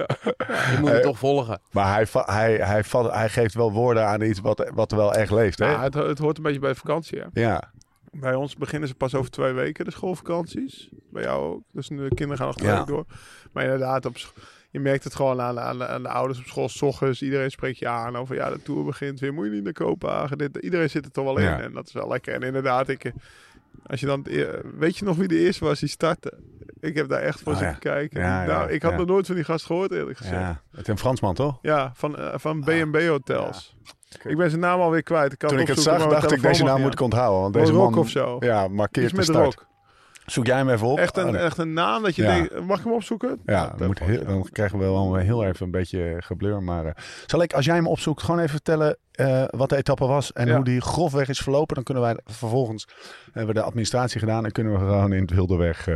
Speaker 4: Je moet het toch volgen.
Speaker 1: Maar hij, va- hij, hij, va- hij geeft wel woorden aan iets wat, wat er wel echt leeft, hè?
Speaker 3: Ja, het, het hoort een beetje bij vakantie, hè?
Speaker 1: Ja,
Speaker 3: Bij ons beginnen ze pas over twee weken, de schoolvakanties. Bij jou ook. Dus de kinderen gaan nog twee
Speaker 1: Ja.
Speaker 3: weken door. Maar inderdaad, op, sch- je merkt het gewoon aan, aan, aan de ouders op school. S ochtends, iedereen spreekt je aan over ja, de tour begint weer. Moet je niet naar Kopenhagen? Dit, iedereen zit er toch wel in.
Speaker 1: Ja.
Speaker 3: En dat is wel lekker. En inderdaad, ik, eh, als je dan, het eer- weet je nog wie de eerste was die startte? Ik heb daar echt voor
Speaker 1: Oh,
Speaker 3: zitten
Speaker 1: ja.
Speaker 3: kijken.
Speaker 1: Ja,
Speaker 3: Die- nou,
Speaker 1: ja,
Speaker 3: ik had
Speaker 1: ja.
Speaker 3: nog nooit van die gast gehoord, eerlijk gezegd. Ja,
Speaker 1: ja. Het is een Fransman, toch?
Speaker 3: van, eh, van B&B Hotels. Ik ben zijn naam alweer kwijt. Ik kan
Speaker 1: Toen ik het
Speaker 3: opzoeken,
Speaker 1: zag,
Speaker 3: maar mijn
Speaker 1: dacht ik, deze
Speaker 3: telefoon
Speaker 1: naam
Speaker 3: mag
Speaker 1: moet ik onthouden. Want
Speaker 3: niet aan.
Speaker 1: deze
Speaker 3: Rock
Speaker 1: man
Speaker 3: of zo.
Speaker 1: ja,
Speaker 3: Iets
Speaker 1: markeert de
Speaker 3: met
Speaker 1: start.
Speaker 3: rock.
Speaker 1: Zoek jij hem even op?
Speaker 3: Echt
Speaker 1: Oh,
Speaker 3: een,
Speaker 1: nee.
Speaker 3: echt een naam dat je
Speaker 1: Ja.
Speaker 3: denkt, mag ik hem opzoeken?
Speaker 1: Ja, we moeten heel, dan krijgen we wel heel even een beetje geblur. Maar eh, zal ik, als jij hem opzoekt, gewoon even vertellen eh, wat de etappe was en
Speaker 3: Ja.
Speaker 1: hoe die grofweg is verlopen. Dan kunnen wij vervolgens, hebben we de administratie gedaan en kunnen we gewoon in het wilde weg eh,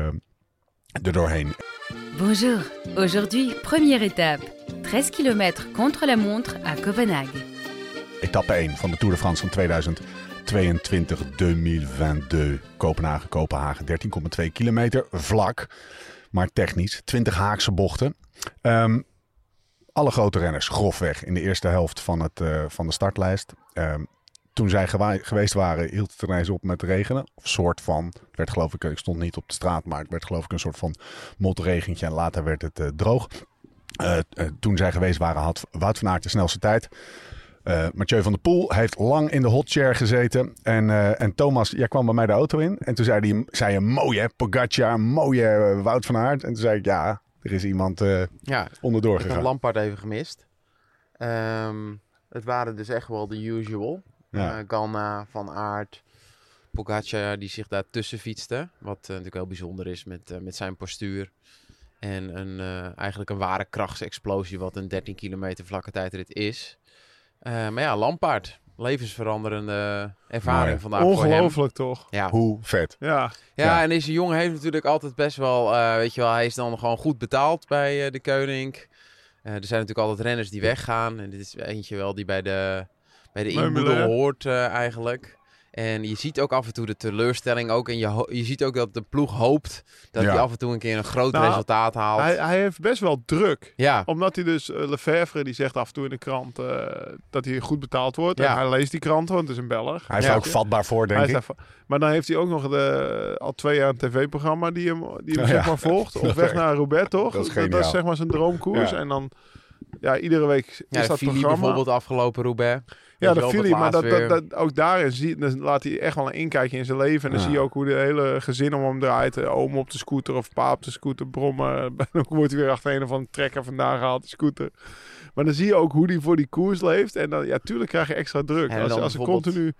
Speaker 1: er doorheen.
Speaker 5: Bonjour, aujourd'hui première étape, 13 km contre la montre à Copenhague.
Speaker 1: Etappe 1 van de Tour de France van 2022, 2022, Kopenhagen, Kopenhagen. 13,2 kilometer, vlak, maar technisch. 20 haakse bochten. Ehm, alle grote renners grofweg in de eerste helft van, het, eh, van de startlijst. Ehm, toen zij gewa- geweest waren, hield het ineens op met regenen. Of soort van. Het werd geloof ik, ik stond niet op de straat, maar het werd geloof ik een soort van motregentje. En later werd het eh, droog. Eh, eh, toen zij geweest waren, had Wout van Aert de snelste tijd. Eh, Mathieu van der Poel heeft lang in de hotchair gezeten. En, eh, en Thomas, jij kwam bij mij de auto in. En toen zei hij, zei een mooie Pogacar, mooie eh, Wout van Aert. En toen zei ik, ja, er is iemand eh,
Speaker 4: Ja,
Speaker 1: onderdoor
Speaker 4: ik heb
Speaker 1: gegaan.
Speaker 4: Lampard even gemist. Ehm, het waren dus echt wel de usual.
Speaker 1: Ja.
Speaker 4: Eh, Ganna, Van Aert, Pogacar die zich daar tussen fietste. Wat eh, natuurlijk heel bijzonder is met, eh, met zijn postuur. En een, eh, eigenlijk een ware krachtsexplosie wat een 13 kilometer vlakke tijdrit is. Eh, maar ja, Lampaard. Levensveranderende
Speaker 1: Mooi.
Speaker 4: ervaring vandaag voor hem.
Speaker 3: Ongelooflijk toch?
Speaker 4: Ja.
Speaker 1: Hoe vet.
Speaker 3: Ja,
Speaker 4: Ja,
Speaker 1: Ja.
Speaker 4: en deze jongen heeft natuurlijk altijd best wel, eh, weet je wel, hij is dan gewoon goed betaald bij eh, de Koning. Eh, er zijn natuurlijk altijd renners die weggaan. En dit is eentje wel die bij de, bij de
Speaker 3: Meubilair.
Speaker 4: inboedel hoort eh, eigenlijk. En je ziet ook af en toe de teleurstelling ook. En je, ho- je ziet ook dat de ploeg hoopt dat
Speaker 1: Ja.
Speaker 4: hij af en toe een keer een groot
Speaker 3: Nou,
Speaker 4: resultaat haalt.
Speaker 3: hij, hij heeft best wel druk.
Speaker 4: ja,
Speaker 3: Omdat hij dus, eh, Lefevre die zegt af en toe in de krant eh, dat hij goed betaald wordt.
Speaker 4: Ja.
Speaker 3: En hij leest die krant, want het is een Belg.
Speaker 1: Hij is
Speaker 4: Ja.
Speaker 1: er ook vatbaar voor, denk
Speaker 3: Hij
Speaker 1: ik.
Speaker 3: is daarvan- maar dan heeft hij ook nog de, al twee jaar een tv-programma die hem, die
Speaker 1: Ja.
Speaker 3: hem zeg maar
Speaker 1: [laughs]
Speaker 3: volgt. Op weg naar Roubaix, toch?
Speaker 1: Dat is
Speaker 3: dat
Speaker 1: geniaal.
Speaker 3: zeg maar zijn droomkoers.
Speaker 1: Ja.
Speaker 3: En dan, ja, iedere week is
Speaker 4: ja
Speaker 3: dat
Speaker 4: Fili
Speaker 3: programma.
Speaker 4: bijvoorbeeld afgelopen Roubaix.
Speaker 3: Ja,
Speaker 4: Weet je
Speaker 3: dat
Speaker 4: wel,
Speaker 3: viel
Speaker 4: op
Speaker 3: hij.
Speaker 4: het
Speaker 3: Maar dat,
Speaker 4: laatst
Speaker 3: dat,
Speaker 4: weer.
Speaker 3: dat, ook daarin zie, dan laat hij echt wel een inkijkje in zijn leven. En dan
Speaker 1: Ja.
Speaker 3: zie je ook hoe de hele gezin om hem draait. Eh, Oom op de scooter of pa op de scooter brommen. [laughs] Dan wordt hij weer achter een of andere trekker vandaan gehaald, de scooter. Maar dan zie je ook hoe hij voor die koers leeft. En dan, ja, tuurlijk krijg je extra druk.
Speaker 4: En
Speaker 3: als
Speaker 4: dan
Speaker 3: als er
Speaker 4: bijvoorbeeld-
Speaker 3: continu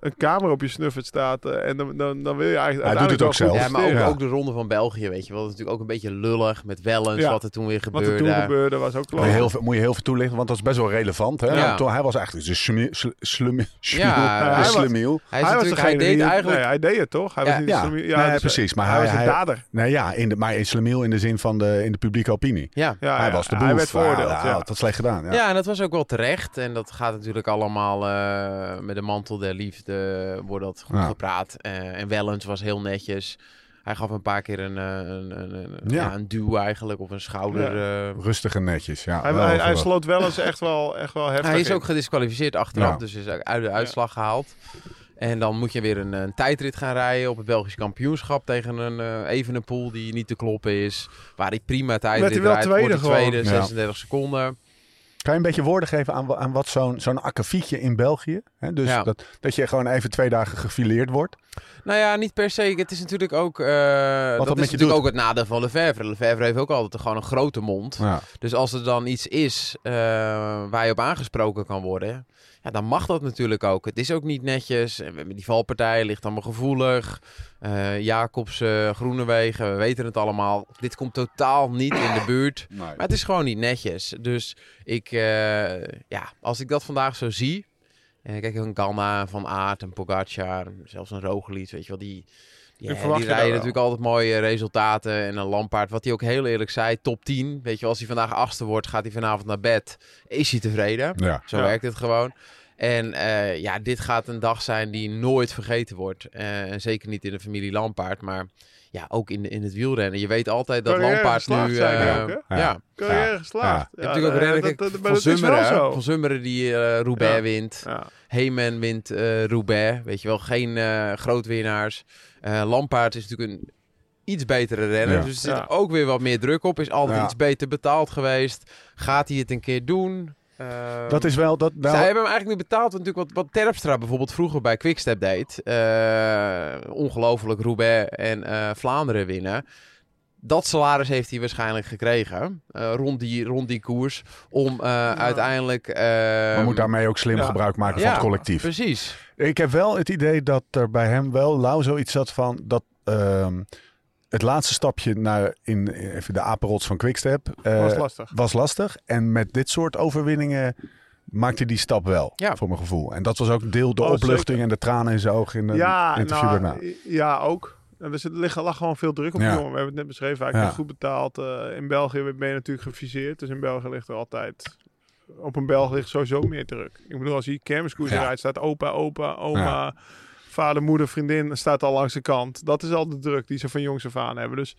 Speaker 3: een kamer op je snuffert staat. eh, en dan, dan, dan wil je eigenlijk
Speaker 1: Hij doet het
Speaker 3: uiteindelijk wel
Speaker 1: ook zelf.
Speaker 3: goed
Speaker 4: Ja, maar ook,
Speaker 3: presteren.
Speaker 4: ook de ronde van België, weet je wel. Dat is natuurlijk ook een beetje lullig met Wellens,
Speaker 3: Ja.
Speaker 4: wat er toen weer
Speaker 3: Wat
Speaker 4: gebeurde.
Speaker 3: er toen gebeurde was ook
Speaker 1: Moet je,
Speaker 3: klaar.
Speaker 1: heel veel, moet je heel veel toelichten, want dat is best wel relevant. Hè?
Speaker 4: Ja.
Speaker 1: Want Toen, hij was eigenlijk de slumie- sl- slumie- slumie-
Speaker 4: Ja,
Speaker 1: de
Speaker 3: hij was-
Speaker 1: slimiel.
Speaker 4: Hij, is natuurlijk, hij deed
Speaker 3: die, het-
Speaker 4: eigenlijk...
Speaker 3: Nee, hij deed het toch? Hij
Speaker 4: Ja.
Speaker 3: was niet
Speaker 1: Ja.
Speaker 3: de-
Speaker 1: Nee,
Speaker 3: dus-
Speaker 1: precies, maar
Speaker 3: hij
Speaker 1: hij-
Speaker 3: was een
Speaker 1: hij-
Speaker 3: dader.
Speaker 1: Nou ja, in de, maar in slimiel in de zin van de, in de publieke opinie.
Speaker 4: ja.
Speaker 3: Ja,
Speaker 1: hij
Speaker 3: Ah, ja,
Speaker 1: was de boef.
Speaker 3: Hij werd veroordeeld,
Speaker 1: Ah,
Speaker 3: ja.
Speaker 1: Dat slecht gedaan. Ja.
Speaker 4: Ja. en dat was ook wel terecht. En dat gaat natuurlijk allemaal eh, met de mantel der liefde, wordt dat goed
Speaker 1: Ja.
Speaker 4: gepraat. Eh, en Wellens was heel netjes. Hij gaf een paar keer een, eh, een, een, een,
Speaker 1: Ja.
Speaker 4: ja, een duw eigenlijk, of een schouder. eh.
Speaker 1: Rustig en netjes. Ja,
Speaker 3: Hij,
Speaker 1: Wel
Speaker 3: hij,
Speaker 1: even
Speaker 3: hij
Speaker 1: wat.
Speaker 3: sloot wel eens echt wel, echt wel heftig
Speaker 4: hij is
Speaker 3: in.
Speaker 4: ook gedisqualificeerd achteraf,
Speaker 1: Ja.
Speaker 4: dus is ook uit de uitslag gehaald. En dan moet je weer een, een tijdrit gaan rijden op het Belgisch kampioenschap tegen een eh Evenepoel die niet te kloppen is. Waar hij prima tijdrit
Speaker 3: hij wel
Speaker 4: rijdt, wordt
Speaker 3: tweede
Speaker 4: hij tweede,
Speaker 1: gewoon. Ja.
Speaker 4: 36 seconden.
Speaker 1: Kan je een beetje woorden geven aan, wa- aan wat zo'n zo'n akkefietje in België? Hè? Dus
Speaker 4: Ja.
Speaker 1: dat, dat je gewoon even twee dagen gefileerd wordt.
Speaker 4: Nou ja, niet per se. Het is natuurlijk ook. eh,
Speaker 1: dat
Speaker 4: dat
Speaker 1: met
Speaker 4: is
Speaker 1: je
Speaker 4: natuurlijk
Speaker 1: doet.
Speaker 4: ook het nadeel van Lefebvre. Lefebvre heeft ook altijd gewoon een grote mond.
Speaker 1: Ja.
Speaker 4: Dus als er dan iets is eh, waar je op aangesproken kan worden, ja, dan mag dat natuurlijk ook. Het is ook niet netjes. En Met die valpartij ligt allemaal gevoelig. Eh Jacobs, Groenewegen, we weten het allemaal. Dit komt totaal niet in de buurt. Maar het is gewoon niet netjes. Dus ik, eh, ja, als ik dat vandaag zo zie. En kijk, een Ganna, Van Aert, een Pogacar, zelfs een Roglic, weet je wel. Die, die,
Speaker 3: Ik
Speaker 4: eh,
Speaker 3: verwacht
Speaker 4: die
Speaker 3: je daar
Speaker 4: rijden
Speaker 3: wel.
Speaker 4: natuurlijk altijd mooie resultaten. En een Lampaard, wat hij ook heel eerlijk zei, top 10. Weet je, wel, als hij vandaag achtste wordt, gaat hij vanavond naar bed. Is hij tevreden?
Speaker 1: Ja.
Speaker 4: Zo
Speaker 3: Ja.
Speaker 4: werkt het gewoon. En eh, ja, dit gaat een dag zijn die nooit vergeten wordt. Eh, en zeker niet in de familie Lampaard, maar ja, ook in, in het wielrennen. Je weet altijd dat
Speaker 3: Carrière
Speaker 4: Lampaard nu...
Speaker 3: geslaagd, zei hij
Speaker 4: eh,
Speaker 3: ook, hè?
Speaker 4: ja.
Speaker 3: Carrière
Speaker 1: Ja.
Speaker 3: geslaagd.
Speaker 4: Je hebt natuurlijk ook
Speaker 3: eh,
Speaker 4: redelijk
Speaker 3: dat- dat- maar
Speaker 4: van,
Speaker 3: dat is wel
Speaker 4: Zummeren, hè?
Speaker 3: zo.
Speaker 4: van Zummeren die eh Roubaix
Speaker 3: Ja.
Speaker 4: wint.
Speaker 3: Ja.
Speaker 4: Heyman wint eh, Roubaix. Weet je wel, geen eh grootwinnaars. Eh, Lampaard is natuurlijk een iets betere renner.
Speaker 1: Ja.
Speaker 4: Dus er zit
Speaker 3: Ja.
Speaker 4: ook weer wat meer druk op. Is altijd
Speaker 1: Ja.
Speaker 4: iets beter betaald geweest. Gaat hij het een keer doen? Ehm,
Speaker 1: Dat is wel... Dat, nou,
Speaker 4: Zij hebben hem eigenlijk niet betaald. Want natuurlijk wat, wat Terpstra bijvoorbeeld vroeger bij Quickstep deed. eh, ongelooflijk Roubaix en eh, Vlaanderen winnen. Dat salaris heeft hij waarschijnlijk gekregen. eh, rond, die, rond die koers. Om eh, uiteindelijk...
Speaker 1: we
Speaker 4: ehm,
Speaker 1: moeten daarmee ook slim
Speaker 3: ja.
Speaker 1: gebruik maken
Speaker 4: Ja.
Speaker 1: van het collectief.
Speaker 4: Precies.
Speaker 1: Ik heb wel het idee dat er bij hem wel lauw zoiets zat van dat ehm, het laatste stapje naar in even de apenrots van Quickstep eh,
Speaker 3: was lastig.
Speaker 1: was lastig. En met dit soort overwinningen maakte die stap wel,
Speaker 4: Ja.
Speaker 1: voor mijn gevoel. En dat was ook deel de
Speaker 3: Oh,
Speaker 1: opluchting
Speaker 3: zeker.
Speaker 1: en de tranen in zijn ogen in de
Speaker 3: Ja,
Speaker 1: interview
Speaker 3: nou,
Speaker 1: daarna.
Speaker 3: ja, ook. En We zitten, liggen, lag gewoon veel druk op
Speaker 1: Ja.
Speaker 3: die jongen. We hebben het net beschreven. Hij krijgt
Speaker 1: Ja.
Speaker 3: goed betaald. Eh, in België ben je natuurlijk geviseerd. Dus in België ligt er altijd... Op een Belg ligt sowieso meer druk. Ik bedoel, als hier kermiskoers
Speaker 1: Ja.
Speaker 3: rijdt, staat opa, opa, oma... Vader, moeder, vriendin staat al langs de kant. Dat is al de druk die ze van jongs af aan hebben. Dus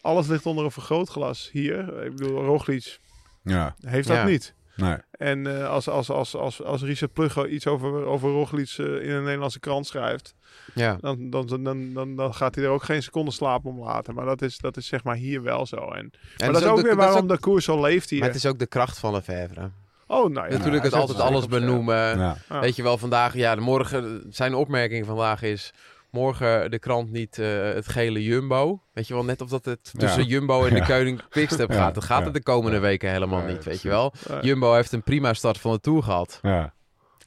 Speaker 3: alles ligt onder een vergrootglas hier. Ik bedoel, Roglic
Speaker 1: Ja. nou
Speaker 3: heeft dat
Speaker 4: Ja.
Speaker 3: niet.
Speaker 1: Nee.
Speaker 3: En eh, als, als, als, als, als Richard Pluggo iets over, over Roglic eh, in een Nederlandse krant schrijft,
Speaker 4: Ja,
Speaker 3: dan, dan, dan, dan, dan gaat hij er ook geen seconde slaap om laten. Maar dat is, dat is zeg maar hier wel zo. En, maar
Speaker 4: het
Speaker 3: dat is ook
Speaker 4: de-
Speaker 3: weer
Speaker 4: dat is
Speaker 3: waarom
Speaker 4: ook-
Speaker 3: de koers zo leeft hier.
Speaker 4: Maar het is ook de kracht van Lefebvre.
Speaker 3: Oh, nou ja.
Speaker 4: Natuurlijk het
Speaker 3: dat
Speaker 4: altijd
Speaker 3: is
Speaker 4: alles
Speaker 3: zeker.
Speaker 4: benoemen.
Speaker 1: Ja.
Speaker 3: Ja.
Speaker 4: Weet je wel, vandaag, ja, de morgen, zijn opmerking vandaag is... Morgen de krant niet eh, het gele Jumbo. Weet je wel, net of dat het tussen
Speaker 1: Ja.
Speaker 4: Jumbo en de
Speaker 1: Ja.
Speaker 4: Keuning Quickstep
Speaker 1: Ja.
Speaker 4: gaat. Dat gaat
Speaker 1: Ja.
Speaker 4: het de komende weken helemaal
Speaker 1: Ja,
Speaker 4: niet, weet
Speaker 1: precies.
Speaker 4: je wel.
Speaker 3: Ja.
Speaker 4: Jumbo heeft een prima start van de Tour gehad.
Speaker 1: Ja.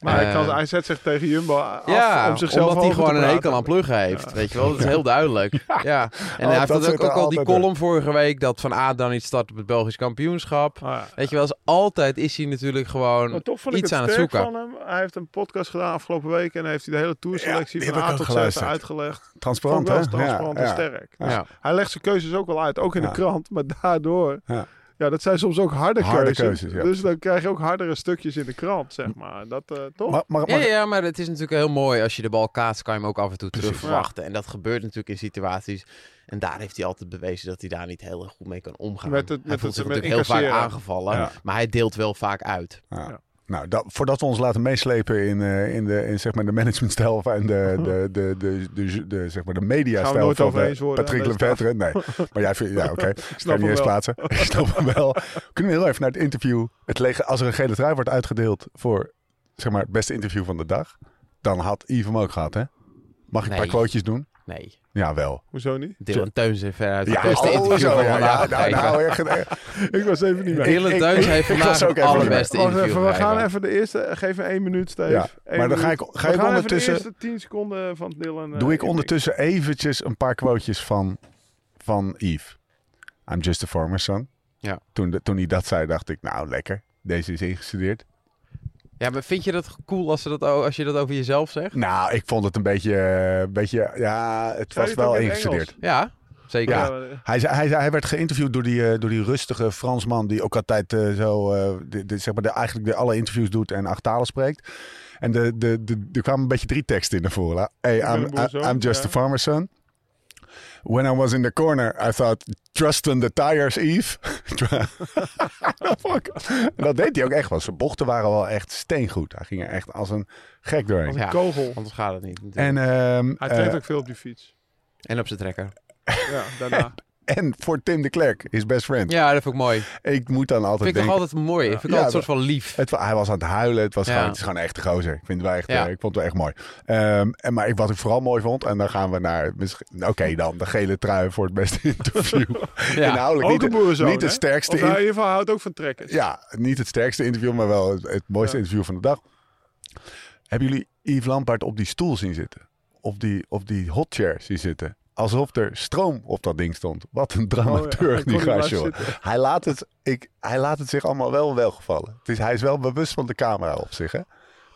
Speaker 3: Maar hij, kan,
Speaker 4: Eh,
Speaker 3: hij zet zich tegen Jumbo af
Speaker 4: Ja,
Speaker 3: om zichzelf
Speaker 4: omdat hij
Speaker 3: hoger te
Speaker 4: gewoon een
Speaker 3: praten.
Speaker 4: hekel aan pluggen heeft.
Speaker 3: Ja.
Speaker 4: Weet je wel, dat is heel
Speaker 1: [laughs]
Speaker 4: duidelijk. Ja. En hij
Speaker 1: Oh,
Speaker 4: heeft
Speaker 1: dat
Speaker 4: dat ook,
Speaker 1: zit er
Speaker 4: ook al die
Speaker 1: altijd in.
Speaker 4: column vorige week... dat Van A dan niet start op het Belgisch kampioenschap.
Speaker 3: Ah, ja.
Speaker 4: Weet je wel, als altijd is hij natuurlijk
Speaker 3: Maar
Speaker 4: gewoon...
Speaker 3: toch vond ik
Speaker 4: iets
Speaker 3: het
Speaker 4: aan het
Speaker 3: sterk
Speaker 4: zoeken.
Speaker 3: van hem. Hij heeft een podcast gedaan afgelopen week en heeft hij de hele tourselectie
Speaker 1: Ja, die
Speaker 3: van
Speaker 1: heb
Speaker 3: A
Speaker 1: ik ook
Speaker 3: tot Z
Speaker 1: geluisterd.
Speaker 3: uitgelegd.
Speaker 1: Transparant,
Speaker 3: Vond ik
Speaker 1: hè?
Speaker 3: wel transparant
Speaker 1: ja,
Speaker 3: en
Speaker 1: ja.
Speaker 3: sterk.
Speaker 1: Ja.
Speaker 4: Ja.
Speaker 3: Hij legt zijn keuzes ook wel uit, ook in
Speaker 1: Ja.
Speaker 3: de krant, maar daardoor...
Speaker 1: Ja.
Speaker 3: Ja. dat zijn soms ook harde,
Speaker 1: Harde
Speaker 3: keuzes.
Speaker 1: keuzes, ja.
Speaker 3: Dus dan krijg je ook hardere stukjes in de krant, zeg maar. Dat eh, toch?
Speaker 1: Maar, maar,
Speaker 4: Ja,
Speaker 1: maar-
Speaker 4: ja, maar het is natuurlijk heel mooi. Als je de bal kaatst, kan je hem ook af en toe terugverwachten. En dat gebeurt natuurlijk in situaties. En daar heeft hij altijd bewezen dat hij daar niet heel erg goed mee kan omgaan.
Speaker 3: Met het-
Speaker 4: hij
Speaker 3: met
Speaker 4: voelt
Speaker 3: het-
Speaker 4: zich
Speaker 3: met
Speaker 4: natuurlijk heel vaak
Speaker 3: incasseren.
Speaker 4: aangevallen.
Speaker 1: Ja.
Speaker 4: Maar hij deelt wel vaak uit.
Speaker 1: Ja.
Speaker 3: Ja.
Speaker 1: Nou, dat, voordat we ons laten meeslepen in, eh, in, de, in zeg maar de managementstijl
Speaker 3: [laughs]
Speaker 1: en de, de, de, de, de, de, zeg maar de
Speaker 3: Gaan we
Speaker 1: mediastijl
Speaker 3: nooit
Speaker 1: van
Speaker 3: over
Speaker 1: eh,
Speaker 3: eens worden
Speaker 1: Patrick
Speaker 3: aan deze
Speaker 1: Lefevre. Nee,
Speaker 3: [laughs]
Speaker 1: maar jij vindt, ja oké, ik
Speaker 3: snap
Speaker 1: kan je niet
Speaker 3: hem
Speaker 1: eens
Speaker 3: wel.
Speaker 1: plaatsen. Ik snap hem wel. Kunnen we heel even naar het interview, het lege, als er een gele trui wordt uitgedeeld voor zeg maar het beste interview van de dag, dan had Yves hem ook gehad hè? Mag ik een
Speaker 4: Nee.
Speaker 1: paar quotejes doen?
Speaker 4: Nee,
Speaker 1: Ja, wel.
Speaker 3: Hoezo niet?
Speaker 4: Dylan Teuns heeft veruit het
Speaker 1: Ja,
Speaker 4: beste
Speaker 1: oh,
Speaker 4: interview
Speaker 1: zo,
Speaker 4: van
Speaker 1: ja,
Speaker 4: vandaag
Speaker 1: ja, nou,
Speaker 4: gegeven.
Speaker 1: nou, echt, eh,
Speaker 3: Ik was even niet mee.
Speaker 1: Ik-
Speaker 4: Dylan Teuns heeft
Speaker 1: ik was
Speaker 4: vandaag
Speaker 1: ook
Speaker 4: het
Speaker 1: even niet
Speaker 4: allerbeste
Speaker 3: Wacht
Speaker 4: interview
Speaker 3: even, we
Speaker 4: gegeven.
Speaker 3: gaan even de eerste... Geef me één minuut, Steve.
Speaker 1: Ja,
Speaker 3: Eén
Speaker 1: maar dan ga
Speaker 3: minuut.
Speaker 1: ik- ga ik
Speaker 3: We gaan even
Speaker 1: ondertussen-
Speaker 3: de eerste tien seconden van Dylan... eh,
Speaker 1: Doe ik
Speaker 3: inpikken.
Speaker 1: ondertussen eventjes een paar quotejes van, van Yves. I'm just a farmer's son.
Speaker 4: Ja.
Speaker 1: Toen, de- toen hij dat zei, dacht ik, nou lekker. Deze is ingestudeerd.
Speaker 4: Ja, maar vind je dat cool als, ze dat, o- als je dat over jezelf zegt?
Speaker 1: Nou, ik vond het een beetje, eh, beetje ja, het
Speaker 3: Zei
Speaker 1: was
Speaker 3: je het
Speaker 1: wel
Speaker 3: ook in
Speaker 1: ingestudeerd.
Speaker 4: Ja, zeker.
Speaker 1: Ja.
Speaker 4: Ja,
Speaker 3: maar-
Speaker 1: Hij, zei- hij, zei- hij werd geïnterviewd door die, eh, door die rustige Fransman die ook altijd eh, zo, eh, de, de- zeg maar de, eigenlijk de, alle interviews doet en acht talen spreekt. En de, de, de, er kwamen een beetje drie teksten in naar voren. hè. Hey,
Speaker 3: ben
Speaker 1: I'm,
Speaker 3: een boerenzoon,
Speaker 1: I'm just
Speaker 3: ja.
Speaker 1: a farmer's son. When I was in the corner, I thought, trust on the tires, [laughs] Eve. dat deed hij ook echt wel. Zijn bochten waren wel echt steengoed. Hij ging er echt als een gek doorheen.
Speaker 4: Oh,
Speaker 3: Als een kogel.
Speaker 4: anders gaat het niet. natuurlijk.
Speaker 1: En, ehm,
Speaker 3: Hij
Speaker 1: eh,
Speaker 3: traint ook veel op die fiets.
Speaker 4: en op zijn trekker.
Speaker 1: [laughs]
Speaker 3: Ja, daarna.
Speaker 1: en voor Tim de Klerk, his best friend.
Speaker 4: Ja, dat vond ik mooi.
Speaker 1: Ik moet dan altijd
Speaker 4: Vind ik
Speaker 1: denken...
Speaker 4: toch altijd mooi. Vind ik
Speaker 1: Ja,
Speaker 4: altijd een soort van lief.
Speaker 1: Het, wa- hij was aan het huilen. Het, was
Speaker 4: Ja.
Speaker 1: gewoon, het is gewoon echt de gozer. Ik, vind het wel echt,
Speaker 4: Ja.
Speaker 1: eh, ik vond het wel echt mooi. Ehm, en, maar ik, wat ik vooral mooi vond, en dan gaan we naar... misschien- Oké, dan de gele trui voor het beste [laughs]
Speaker 3: [laughs]
Speaker 1: interview.
Speaker 4: Ja.
Speaker 1: Inhoudelijk
Speaker 3: Ook
Speaker 1: niet,
Speaker 3: een boerenzoon,
Speaker 1: niet het
Speaker 3: hè?
Speaker 1: sterkste
Speaker 3: Of hij in
Speaker 1: in-
Speaker 3: ieder geval houdt ook van trekkers.
Speaker 1: ja, niet het sterkste interview, maar wel het, het mooiste
Speaker 3: Ja.
Speaker 1: interview van de dag. Hebben jullie Yves Lampaard op die stoel zien zitten? Op die, op die hotchair zien zitten? Alsof er stroom op dat ding stond. Wat een
Speaker 3: Oh ja,
Speaker 1: dramaturg,
Speaker 3: hij kon
Speaker 1: die
Speaker 3: niet blijven
Speaker 1: gast, joh.
Speaker 3: zitten.
Speaker 1: Hij laat, het, ik, hij laat het zich allemaal wel welgevallen. Het is, hij is wel bewust van de camera op zich, hè?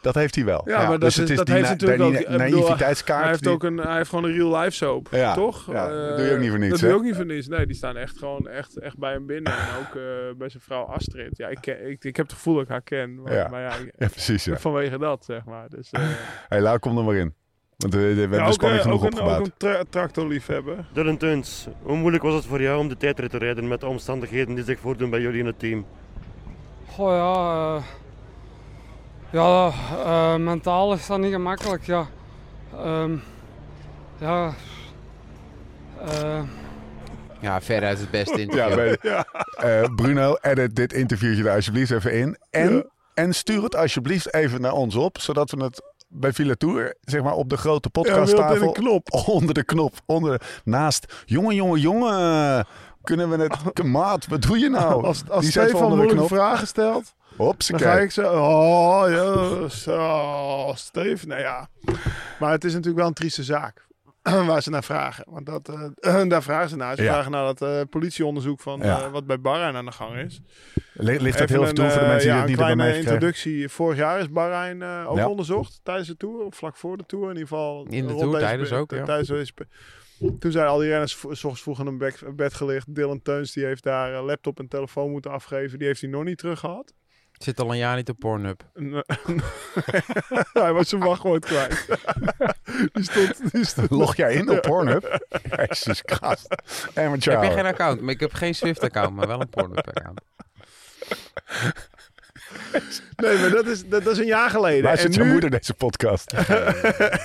Speaker 1: Dat heeft hij wel.
Speaker 3: Ja, maar dat
Speaker 1: dus
Speaker 3: is-
Speaker 1: het is
Speaker 3: dat
Speaker 1: die,
Speaker 3: heeft
Speaker 1: na-
Speaker 3: natuurlijk
Speaker 1: die
Speaker 3: ook-
Speaker 1: na-
Speaker 3: ik bedoel,
Speaker 1: naïviteitskaart.
Speaker 3: Hij heeft,
Speaker 1: die-
Speaker 3: ook een, hij heeft gewoon een real life soap,
Speaker 1: Ja,
Speaker 3: toch?
Speaker 1: ja, dat
Speaker 3: Eh,
Speaker 1: doe je ook niet voor niks,
Speaker 3: Dat
Speaker 1: hè?
Speaker 3: doe je ook niet voor niets. Nee, die staan echt gewoon echt, echt bij hem binnen. En ook eh, bij zijn vrouw Astrid. Ja, ik, ken- ik, ik heb het gevoel dat ik haar ken. Maar
Speaker 1: Ja.
Speaker 3: ja, maar ja ik-
Speaker 1: Ja, precies, ja.
Speaker 3: vanwege dat, zeg maar. Dus, eh, ja,
Speaker 1: Hey, Lau, kom er maar in. Want we, we hebben
Speaker 3: ook,
Speaker 1: spanning
Speaker 3: eh,
Speaker 1: genoeg
Speaker 3: ook een,
Speaker 1: opgebouwd.
Speaker 3: Ook een tra tractorliefhebber.
Speaker 6: Dylan Teuns, hoe moeilijk was het voor jou om de tijdrit te rijden met de omstandigheden die zich voordoen bij jullie in het team?
Speaker 7: Goh ja, eh, ja eh, mentaal is dat niet gemakkelijk. Ja, Ehm, ja. eh,
Speaker 4: Ja, veruit het beste
Speaker 1: Ja,
Speaker 4: interview.
Speaker 3: [laughs]
Speaker 1: weet- Eh, Bruno, edit dit interviewtje er alsjeblieft even in. En, en stuur het alsjeblieft even naar ons op, zodat we het bij Villa Tour, zeg maar, op de grote
Speaker 3: Ja,
Speaker 1: podcasttafel...
Speaker 3: wilt in een
Speaker 1: [laughs] Onder de knop. Onder de- naast. Jongen, jongen, jongen. Kunnen we
Speaker 3: [laughs]
Speaker 1: het... Maat, wat doe je nou?
Speaker 3: als als
Speaker 1: Die zetten we
Speaker 3: Stefan
Speaker 1: onder de
Speaker 3: moeilijke
Speaker 1: knop.
Speaker 3: vragen stelt, dan ga
Speaker 1: Hopsakee.
Speaker 3: ik zeggen, oh ja, zo, Steve, nou ja. Maar het is natuurlijk wel een trieste zaak [clears throat] waar ze naar vragen. Want dat, eh, [clears throat] daar vragen ze naar. Ze
Speaker 1: Ja.
Speaker 3: vragen naar dat eh, politieonderzoek van
Speaker 1: Ja.
Speaker 3: eh, wat bij Bahrein aan de gang is.
Speaker 1: Li- Ligt dat heel
Speaker 3: Even
Speaker 1: veel
Speaker 3: een,
Speaker 1: toe voor de
Speaker 3: eh,
Speaker 1: mensen
Speaker 3: ja,
Speaker 1: die het niet
Speaker 3: een
Speaker 1: hebben
Speaker 3: kleine
Speaker 1: meegekregen?
Speaker 3: introductie. Vorig jaar is Bahrein eh, ook
Speaker 1: Ja.
Speaker 3: onderzocht tijdens de Tour. Of vlak voor de Tour in ieder geval.
Speaker 4: In de
Speaker 3: Rond
Speaker 4: Tour,
Speaker 3: deze
Speaker 4: tijdens
Speaker 3: pe-
Speaker 4: ook, ja.
Speaker 3: tijdens deze pe- Toen zijn al die renners v- 's ochtends vroeg in een bek- bed gelicht. Dylan Teuns die heeft daar eh, laptop en telefoon moeten afgeven. Die heeft hij nog niet terug gehad.
Speaker 4: Zit al een jaar niet op Pornhub.
Speaker 3: En, eh, [laughs] hij was zijn wachtwoord kwijt. die stond... Die stond
Speaker 1: [laughs] Log jij
Speaker 3: [laughs]
Speaker 1: in op Pornhub? Jezus Christ. Amateur
Speaker 4: Ik heb
Speaker 1: hour.
Speaker 3: Ah
Speaker 4: geen account. Maar ik heb geen Swift-account, maar wel een Pornhub-account.
Speaker 3: Nee, maar dat is, dat, dat is een jaar geleden.
Speaker 1: Waar
Speaker 3: en,
Speaker 1: zit jouw
Speaker 3: nu,
Speaker 1: moeder deze podcast?
Speaker 3: [laughs]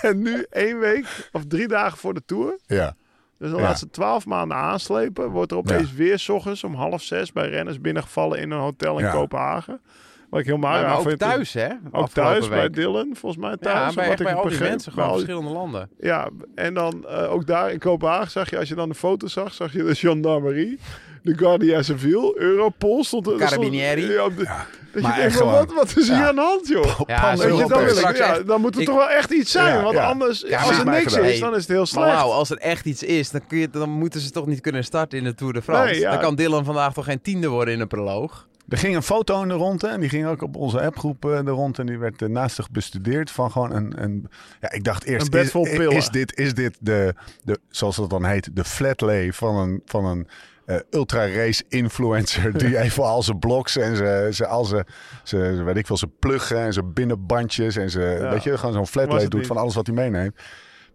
Speaker 3: en nu één week of drie dagen voor de Tour.
Speaker 1: ja.
Speaker 3: Dus de
Speaker 1: Ja.
Speaker 3: laatste twaalf maanden aanslepen. Wordt er opeens weer 's ochtends om half zes bij renners binnengevallen in een hotel in
Speaker 1: Ja.
Speaker 3: Kopenhagen. Wat ik heel maar,
Speaker 4: maar,
Speaker 3: aan
Speaker 4: ook
Speaker 3: vind. eh,
Speaker 4: thuis, hè?
Speaker 3: Ook
Speaker 4: Afgelopen
Speaker 3: thuis bij
Speaker 4: week.
Speaker 3: Dylan, volgens mij thuis.
Speaker 4: Ja,
Speaker 3: omdat
Speaker 4: bij, echt
Speaker 3: ik Nou,
Speaker 4: bij al die
Speaker 3: begreep-
Speaker 4: mensen,
Speaker 3: bij
Speaker 4: gewoon
Speaker 3: al-
Speaker 4: verschillende landen.
Speaker 3: Ja, en dan eh, ook daar in Kopenhagen zag je, als je dan de foto zag, zag je de gendarmerie, de Guardia Civil, Europol stond er.
Speaker 4: Carabinieri.
Speaker 3: stond- Ja, op de- dat
Speaker 1: maar
Speaker 3: je denkt,
Speaker 1: echt
Speaker 3: van,
Speaker 1: gewoon.
Speaker 3: wat, wat is hier
Speaker 1: Ja.
Speaker 3: aan de hand, joh?
Speaker 4: Ja,
Speaker 1: Pan-
Speaker 4: zo
Speaker 3: Weet je, dan,
Speaker 1: Europees.
Speaker 3: wil ik-
Speaker 4: Straks
Speaker 3: ja,
Speaker 4: echt-
Speaker 3: dan moet er
Speaker 4: ik-
Speaker 3: toch wel echt iets zijn,
Speaker 1: Ja,
Speaker 3: want
Speaker 1: ja.
Speaker 3: anders,
Speaker 1: Ja,
Speaker 3: als
Speaker 1: maar-
Speaker 3: er niks
Speaker 1: Hey,
Speaker 3: is, dan is het heel
Speaker 4: Maar
Speaker 3: slecht.
Speaker 4: wauw, als er echt iets is, dan, kun je, dan moeten ze toch niet kunnen starten in de Tour de France.
Speaker 3: Nee, ja.
Speaker 4: Dan kan Dylan vandaag toch geen tiende worden in een proloog.
Speaker 1: Er ging een foto in de rond hè, en die ging ook op onze appgroep eh, de rond en die werd eh, naastig bestudeerd van gewoon een... een ja, ik dacht eerst,
Speaker 3: Een bed vol
Speaker 1: is,
Speaker 3: pillen.
Speaker 1: is dit, is dit de, de, zoals dat dan heet, de flatlay van een, van een eh, ultra-race influencer
Speaker 3: [laughs]
Speaker 1: die even al zijn blogs en zijn, zijn, al zijn, zijn, zijn, weet ik veel, zijn pluggen en zijn binnenbandjes en zijn,
Speaker 3: Ja.
Speaker 1: weet je, gewoon zo'n
Speaker 3: Was
Speaker 1: flatlay
Speaker 3: het
Speaker 1: doet
Speaker 3: niet.
Speaker 1: van alles wat hij meeneemt.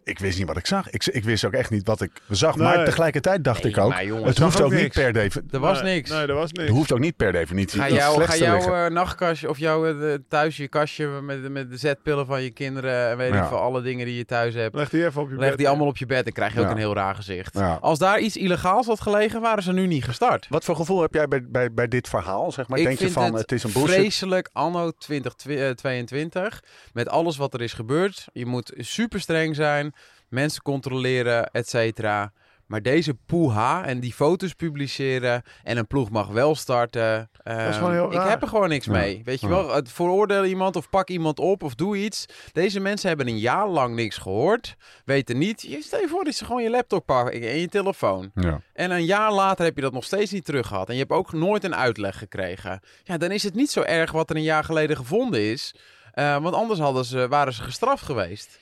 Speaker 1: Ik wist niet wat ik zag. Ik, ik wist ook echt niet wat ik zag.
Speaker 3: Nee.
Speaker 1: Maar tegelijkertijd dacht
Speaker 4: Nee,
Speaker 1: ik ook,
Speaker 4: maar jongens,
Speaker 1: het
Speaker 3: zag
Speaker 1: hoeft
Speaker 3: ook
Speaker 1: ook niet
Speaker 3: niks.
Speaker 1: per definitie.
Speaker 4: Er was
Speaker 3: Nee,
Speaker 4: niks.
Speaker 3: Nee, dat was niks.
Speaker 1: Het hoeft ook niet per definitie.
Speaker 4: Ga
Speaker 1: iets
Speaker 4: jouw,
Speaker 1: slechts
Speaker 4: ga
Speaker 1: te
Speaker 4: jouw
Speaker 1: liggen.
Speaker 4: eh, nachtkastje of jouw eh, de- thuis je kastje met, met de zetpillen van je kinderen en weet
Speaker 1: Ja.
Speaker 4: ik veel, alle dingen die je thuis hebt.
Speaker 3: Leg die even op je
Speaker 4: Leg
Speaker 3: bed.
Speaker 4: die allemaal op je bed, dan krijg je ook
Speaker 1: Ja.
Speaker 4: een heel raar gezicht.
Speaker 1: Ja.
Speaker 4: Als daar iets illegaals had gelegen, waren ze nu niet gestart.
Speaker 1: Wat voor gevoel heb jij bij, bij, bij dit verhaal? Zeg maar,
Speaker 4: Ik
Speaker 1: denk je
Speaker 4: vind
Speaker 1: van het,
Speaker 4: het
Speaker 1: is een bullshit?
Speaker 4: Vreselijk anno 2022, met alles wat er is gebeurd. Je moet super streng zijn, mensen controleren, et cetera. Maar deze poeha en die foto's publiceren en een ploeg mag wel starten. ehm,
Speaker 3: gewoon heel
Speaker 4: ik
Speaker 3: raar.
Speaker 4: heb er gewoon niks mee. Weet je
Speaker 1: Ja.
Speaker 4: wel, het veroordeel iemand of pak iemand op of doe iets. Deze mensen hebben een jaar lang niks gehoord. Weten niet. Je, stel je voor dat ze gewoon je laptop pakken en je telefoon.
Speaker 1: Ja.
Speaker 4: En een jaar later heb je dat nog steeds niet terug gehad. En je hebt ook nooit een uitleg gekregen. Ja, dan is het niet zo erg wat er een jaar geleden gevonden is. eh, want anders hadden ze, waren ze gestraft geweest.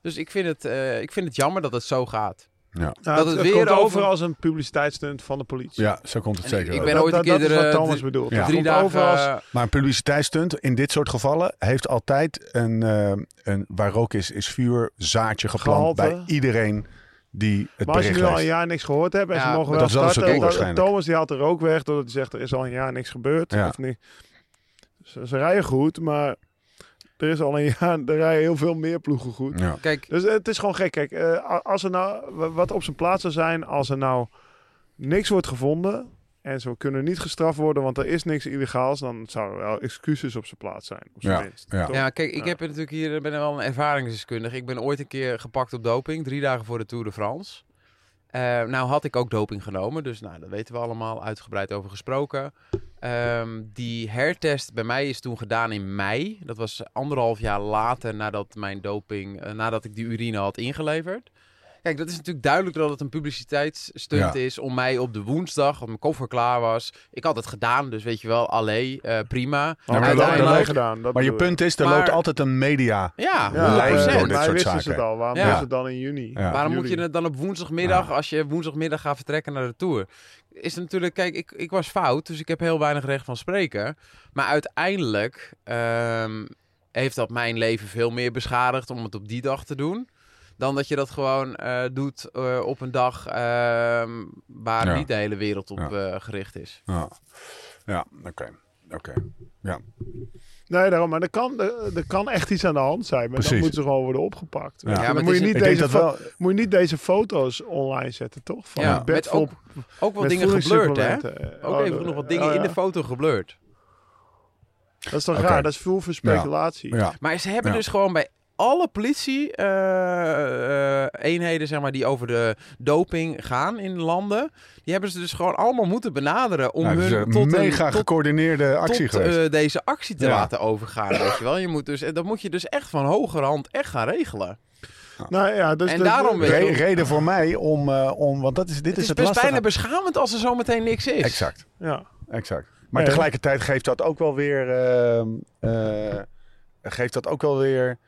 Speaker 4: Dus ik vind, het, eh, ik vind het jammer dat het zo gaat.
Speaker 3: Nou,
Speaker 4: dat
Speaker 3: het,
Speaker 4: het
Speaker 3: het
Speaker 4: weer
Speaker 3: komt over
Speaker 4: over-
Speaker 3: als een publiciteitsstunt van de politie.
Speaker 1: ja, zo komt het
Speaker 4: En ik-
Speaker 1: zeker.
Speaker 4: ik
Speaker 1: wel.
Speaker 4: ben- ooit een
Speaker 3: dat,
Speaker 4: keer
Speaker 3: dat is
Speaker 4: er,
Speaker 3: wat
Speaker 4: eh,
Speaker 3: Thomas
Speaker 4: drie-
Speaker 3: bedoelt.
Speaker 1: Ja.
Speaker 3: Het
Speaker 4: Drie
Speaker 3: komt over
Speaker 4: dagen.
Speaker 3: als-
Speaker 4: eh,
Speaker 1: Maar een publiciteitsstunt in dit soort gevallen heeft altijd een, eh, een waar rook is, is vuur, zaadje geplant
Speaker 3: Gehalte.
Speaker 1: bij iedereen die het
Speaker 3: Maar als je
Speaker 1: bericht
Speaker 3: nu al een
Speaker 1: leest.
Speaker 3: jaar niks gehoord hebt en
Speaker 4: Ja,
Speaker 3: ze mogen
Speaker 4: maar
Speaker 3: wel
Speaker 1: dat is wel
Speaker 3: starten.
Speaker 1: zijn doel
Speaker 3: dan-
Speaker 1: waarschijnlijk.
Speaker 3: Thomas die haalt er ook weg doordat hij zegt er is al een jaar niks gebeurd.
Speaker 1: Ja.
Speaker 3: Of niet. Ze, ze rijden goed, maar er is al een jaar, er rijden heel veel meer ploegen goed.
Speaker 1: Ja.
Speaker 4: kijk,
Speaker 3: Dus eh, het is gewoon gek. Kijk, eh, a- als er nou, wa- wat op zijn plaats zou zijn als er nou niks wordt gevonden en ze kunnen niet gestraft worden, want er is niks illegaals, dan zouden wel excuses op zijn plaats zijn. Op zijn
Speaker 1: Ja,
Speaker 3: minst,
Speaker 1: ja.
Speaker 3: toch?
Speaker 4: Ja, kijk, ik
Speaker 3: Ja.
Speaker 4: heb natuurlijk hier, ik ben wel een ervaringsdeskundige. Ik ben ooit een keer gepakt op doping, drie dagen voor de Tour de France. Eh, nou had ik ook doping genomen, dus nou, daar weten we allemaal, uitgebreid over gesproken. Ehm, die hertest bij mij is toen gedaan in mei. Dat was anderhalf jaar later nadat mijn doping, eh, nadat ik die urine had ingeleverd. Kijk, dat is natuurlijk duidelijk dat het een publiciteitsstunt
Speaker 1: Ja.
Speaker 4: is om mij op de woensdag, als mijn koffer klaar was. Ik had het gedaan, dus weet je wel, allee, eh, prima.
Speaker 3: Maar
Speaker 1: maar
Speaker 3: dat
Speaker 1: dat-
Speaker 3: hebben wij
Speaker 1: dat-
Speaker 3: gedaan. dat
Speaker 1: Maar je
Speaker 3: bedoel ik.
Speaker 1: punt is, er
Speaker 4: Maar-
Speaker 1: loopt altijd een media.
Speaker 4: Ja,
Speaker 1: Ja,
Speaker 3: maar
Speaker 1: lijst
Speaker 3: wij
Speaker 1: door dit soort
Speaker 3: wisten ze het
Speaker 1: zaken.
Speaker 3: al. Waarom
Speaker 4: Ja.
Speaker 3: is het dan in juni?
Speaker 1: Ja.
Speaker 4: Waarom
Speaker 3: Juli.
Speaker 4: moet je het dan op woensdagmiddag, als je woensdagmiddag gaat vertrekken naar de Tour? Is het natuurlijk, kijk, ik, ik was fout, dus ik heb heel weinig recht van spreken. Maar uiteindelijk ehm, heeft dat mijn leven veel meer beschadigd om het op die dag te doen. Dan dat je dat gewoon eh, doet eh, op een dag ehm, waar
Speaker 1: Ja.
Speaker 4: niet de hele wereld op
Speaker 1: Ja.
Speaker 4: eh, gericht is.
Speaker 1: Ja, ja oké. oké. Ja.
Speaker 3: Nee, daarom. Maar er kan, er, er kan echt iets aan de hand zijn. Maar dan
Speaker 1: Precies.
Speaker 3: moeten ze gewoon worden opgepakt.
Speaker 1: Ja,
Speaker 3: Ja.
Speaker 4: maar
Speaker 3: dan
Speaker 4: het
Speaker 3: moet je,
Speaker 4: is een-
Speaker 3: niet
Speaker 1: Ik denk
Speaker 3: deze
Speaker 1: dat
Speaker 3: fo-
Speaker 1: wel.
Speaker 3: moet je niet deze foto's online zetten, toch? Van
Speaker 4: Ja,
Speaker 3: een bed
Speaker 4: met
Speaker 3: vol
Speaker 4: ook- Ook wel
Speaker 3: met
Speaker 4: dingen geblurred, hè?
Speaker 3: voedingssupplementen.
Speaker 4: Ook
Speaker 3: Oh,
Speaker 4: even
Speaker 3: dat-
Speaker 4: nog wat dingen
Speaker 3: oh,
Speaker 4: in de
Speaker 3: ja.
Speaker 4: foto geblurred.
Speaker 3: Dat is toch
Speaker 1: Oké.
Speaker 3: raar? Dat is voel voor speculatie.
Speaker 1: Ja.
Speaker 4: Maar ze hebben
Speaker 1: Ja.
Speaker 4: dus gewoon bij alle politie-eenheden, zeg maar, die over de doping gaan in landen. Die hebben ze dus gewoon allemaal moeten benaderen om
Speaker 1: Nou, het is
Speaker 4: hun
Speaker 1: een
Speaker 4: tot, een-
Speaker 1: mega
Speaker 4: tot,
Speaker 1: gecoördineerde actie
Speaker 4: tot,
Speaker 1: geweest.
Speaker 4: eh, deze actie te
Speaker 1: Ja.
Speaker 4: laten overgaan. Weet je wel. Je moet dus, en dat moet je dus echt van hoger hand echt gaan regelen.
Speaker 3: Nou ja, dus
Speaker 4: En
Speaker 3: de-
Speaker 4: daarom weet je-
Speaker 1: Re- reden voor mij om, eh, om want dat is, dit
Speaker 4: Het
Speaker 1: is,
Speaker 4: is
Speaker 1: het
Speaker 4: best
Speaker 1: lastige.
Speaker 4: bijna beschamend als er zometeen niks is.
Speaker 1: Exact.
Speaker 3: Ja.
Speaker 1: Exact. Maar
Speaker 3: Ja.
Speaker 1: tegelijkertijd geeft dat ook wel weer. ehm, eh, geeft dat ook wel weer.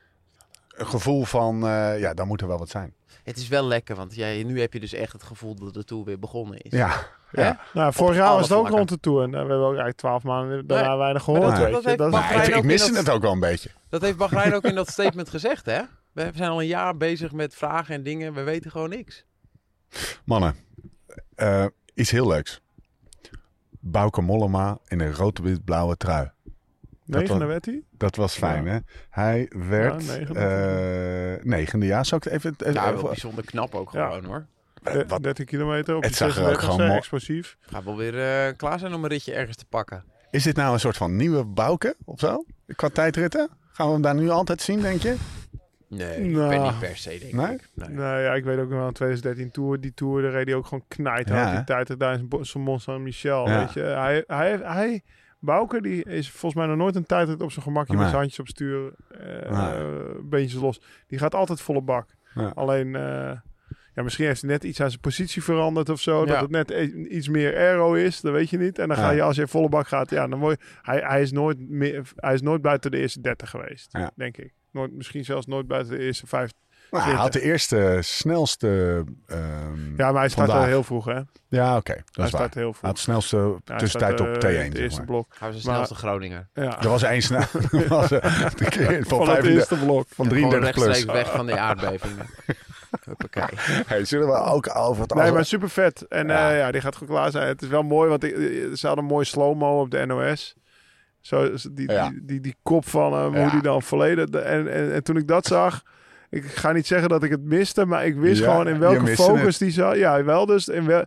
Speaker 1: Een gevoel van. eh, ja, dan moet er wel wat zijn.
Speaker 4: Het is wel lekker, want jij, nu heb je dus echt het gevoel dat de tour weer begonnen is.
Speaker 1: Ja.
Speaker 4: Hè?
Speaker 1: ja.
Speaker 3: Nou, vorig jaar
Speaker 4: alle
Speaker 3: was het ook
Speaker 4: vlakken.
Speaker 3: rond de tour. En eh, we hebben ook eigenlijk twaalf maanden daarna
Speaker 4: Nee,
Speaker 3: weinig
Speaker 4: maar
Speaker 3: gehoord.
Speaker 1: dat-
Speaker 3: weet
Speaker 4: dat
Speaker 3: je.
Speaker 4: heeft
Speaker 3: Dat is-
Speaker 4: Bach-
Speaker 1: Maar ik, ik
Speaker 4: ook
Speaker 1: miste
Speaker 4: in dat-
Speaker 1: het ook wel een beetje.
Speaker 4: Dat heeft Bahrein ook in dat statement gezegd, hè? We zijn al een jaar bezig met vragen en dingen. We weten gewoon niks.
Speaker 1: Mannen, eh, iets heel leuks. Bouke Mollema in een rood-wit-blauwe trui.
Speaker 3: Negende
Speaker 1: was-
Speaker 3: werd hij?
Speaker 1: Dat was fijn,
Speaker 3: Ja.
Speaker 1: hè? Hij werd
Speaker 3: Ja, negende.
Speaker 1: eh, negende, ja. Zou ik het even... eh,
Speaker 4: Nou, wel
Speaker 1: eh,
Speaker 4: bijzonder knap ook
Speaker 3: Ja.
Speaker 4: gewoon hoor.
Speaker 1: eh, wat,
Speaker 3: 30 kilometer op
Speaker 1: Het
Speaker 3: de
Speaker 1: zag er ook
Speaker 3: 36
Speaker 1: gewoon
Speaker 3: zijn,
Speaker 1: mooi-
Speaker 3: explosief.
Speaker 4: Gaat wel weer eh, klaar zijn om een ritje ergens te pakken.
Speaker 1: is dit nou een soort van nieuwe Bouke of zo? Qua tijdritten? Gaan we hem daar nu altijd zien, denk je?
Speaker 4: Nee,
Speaker 3: Nou.
Speaker 4: ik ben niet per se denk
Speaker 1: Nee?
Speaker 4: ik. Nee.
Speaker 3: Nou ja, ik weet ook nog wel, in 2013 Tour, die Tour, daar reed hij ook gewoon knijt
Speaker 1: Ja,
Speaker 3: hard
Speaker 1: hè?
Speaker 3: die tijd. Daar in Bo- zo'n Mont Saint-Michel,
Speaker 1: Ja.
Speaker 3: weet je. Hij, hij, hij, Bouke, die is volgens mij nog nooit een tijdrit op zijn gemakje
Speaker 1: Nee.
Speaker 3: met zijn handjes op stuur, eh
Speaker 1: Nee.
Speaker 3: eh, beentjes los. Die gaat altijd volle bak.
Speaker 1: Ja.
Speaker 3: Alleen, eh, ja, misschien heeft hij net iets aan zijn positie veranderd of zo. Dat
Speaker 4: Ja.
Speaker 3: het net e- iets meer aero is, dat weet je niet. En dan ga
Speaker 1: Ja.
Speaker 3: je, als je volle bak gaat, ja, dan word je, hij, hij, is nooit meer, hij is nooit buiten de eerste 30 geweest,
Speaker 1: Ja.
Speaker 3: denk ik. Nooit, misschien zelfs nooit buiten de eerste 50.
Speaker 1: Nou, hij had de eerste, snelste... ehm, ja,
Speaker 3: Ja, maar hij start wel
Speaker 1: Vandaag.
Speaker 3: heel vroeg, hè?
Speaker 1: oké. dat
Speaker 3: Hij
Speaker 1: is waar.
Speaker 3: start heel
Speaker 1: Hij
Speaker 3: vroeg.
Speaker 1: had de snelste
Speaker 3: Ja, hij
Speaker 1: tussentijd
Speaker 3: staat,
Speaker 1: op T1,
Speaker 3: eh,
Speaker 1: zeg
Speaker 3: Het eerste
Speaker 1: maar.
Speaker 3: blok.
Speaker 4: Gaan we zijn
Speaker 3: Maar-
Speaker 4: snelste Groninger.
Speaker 3: Ja.
Speaker 1: Er was één snel. [laughs] er was, eh, de
Speaker 3: [laughs]
Speaker 1: keer van,
Speaker 3: Van het
Speaker 1: 35
Speaker 3: eerste blok.
Speaker 1: van
Speaker 4: Gewoon
Speaker 1: 33
Speaker 4: rechtstreeks
Speaker 1: plus.
Speaker 4: weg van de aardbeving.
Speaker 1: [laughs]
Speaker 4: Hoppakee.
Speaker 1: Hey, zullen we ook over het
Speaker 3: Nee,
Speaker 1: algemeen-
Speaker 3: maar super vet. En
Speaker 1: Ja.
Speaker 3: ja. ja, die gaat goed klaar zijn. Het is wel mooi, want ik- eh, ze hadden een mooi slow-mo op de NOS. Zo, is die,
Speaker 1: Ja.
Speaker 3: die, die, die kop van hem,
Speaker 1: Ja.
Speaker 3: hoe die dan volledig... de- En, en, en toen ik dat zag, ik ga niet zeggen dat ik het miste, maar ik wist
Speaker 1: Ja,
Speaker 3: gewoon in
Speaker 1: je
Speaker 3: welke
Speaker 1: miste
Speaker 3: focus
Speaker 1: het.
Speaker 3: die zat. Ja, wel dus. In wel,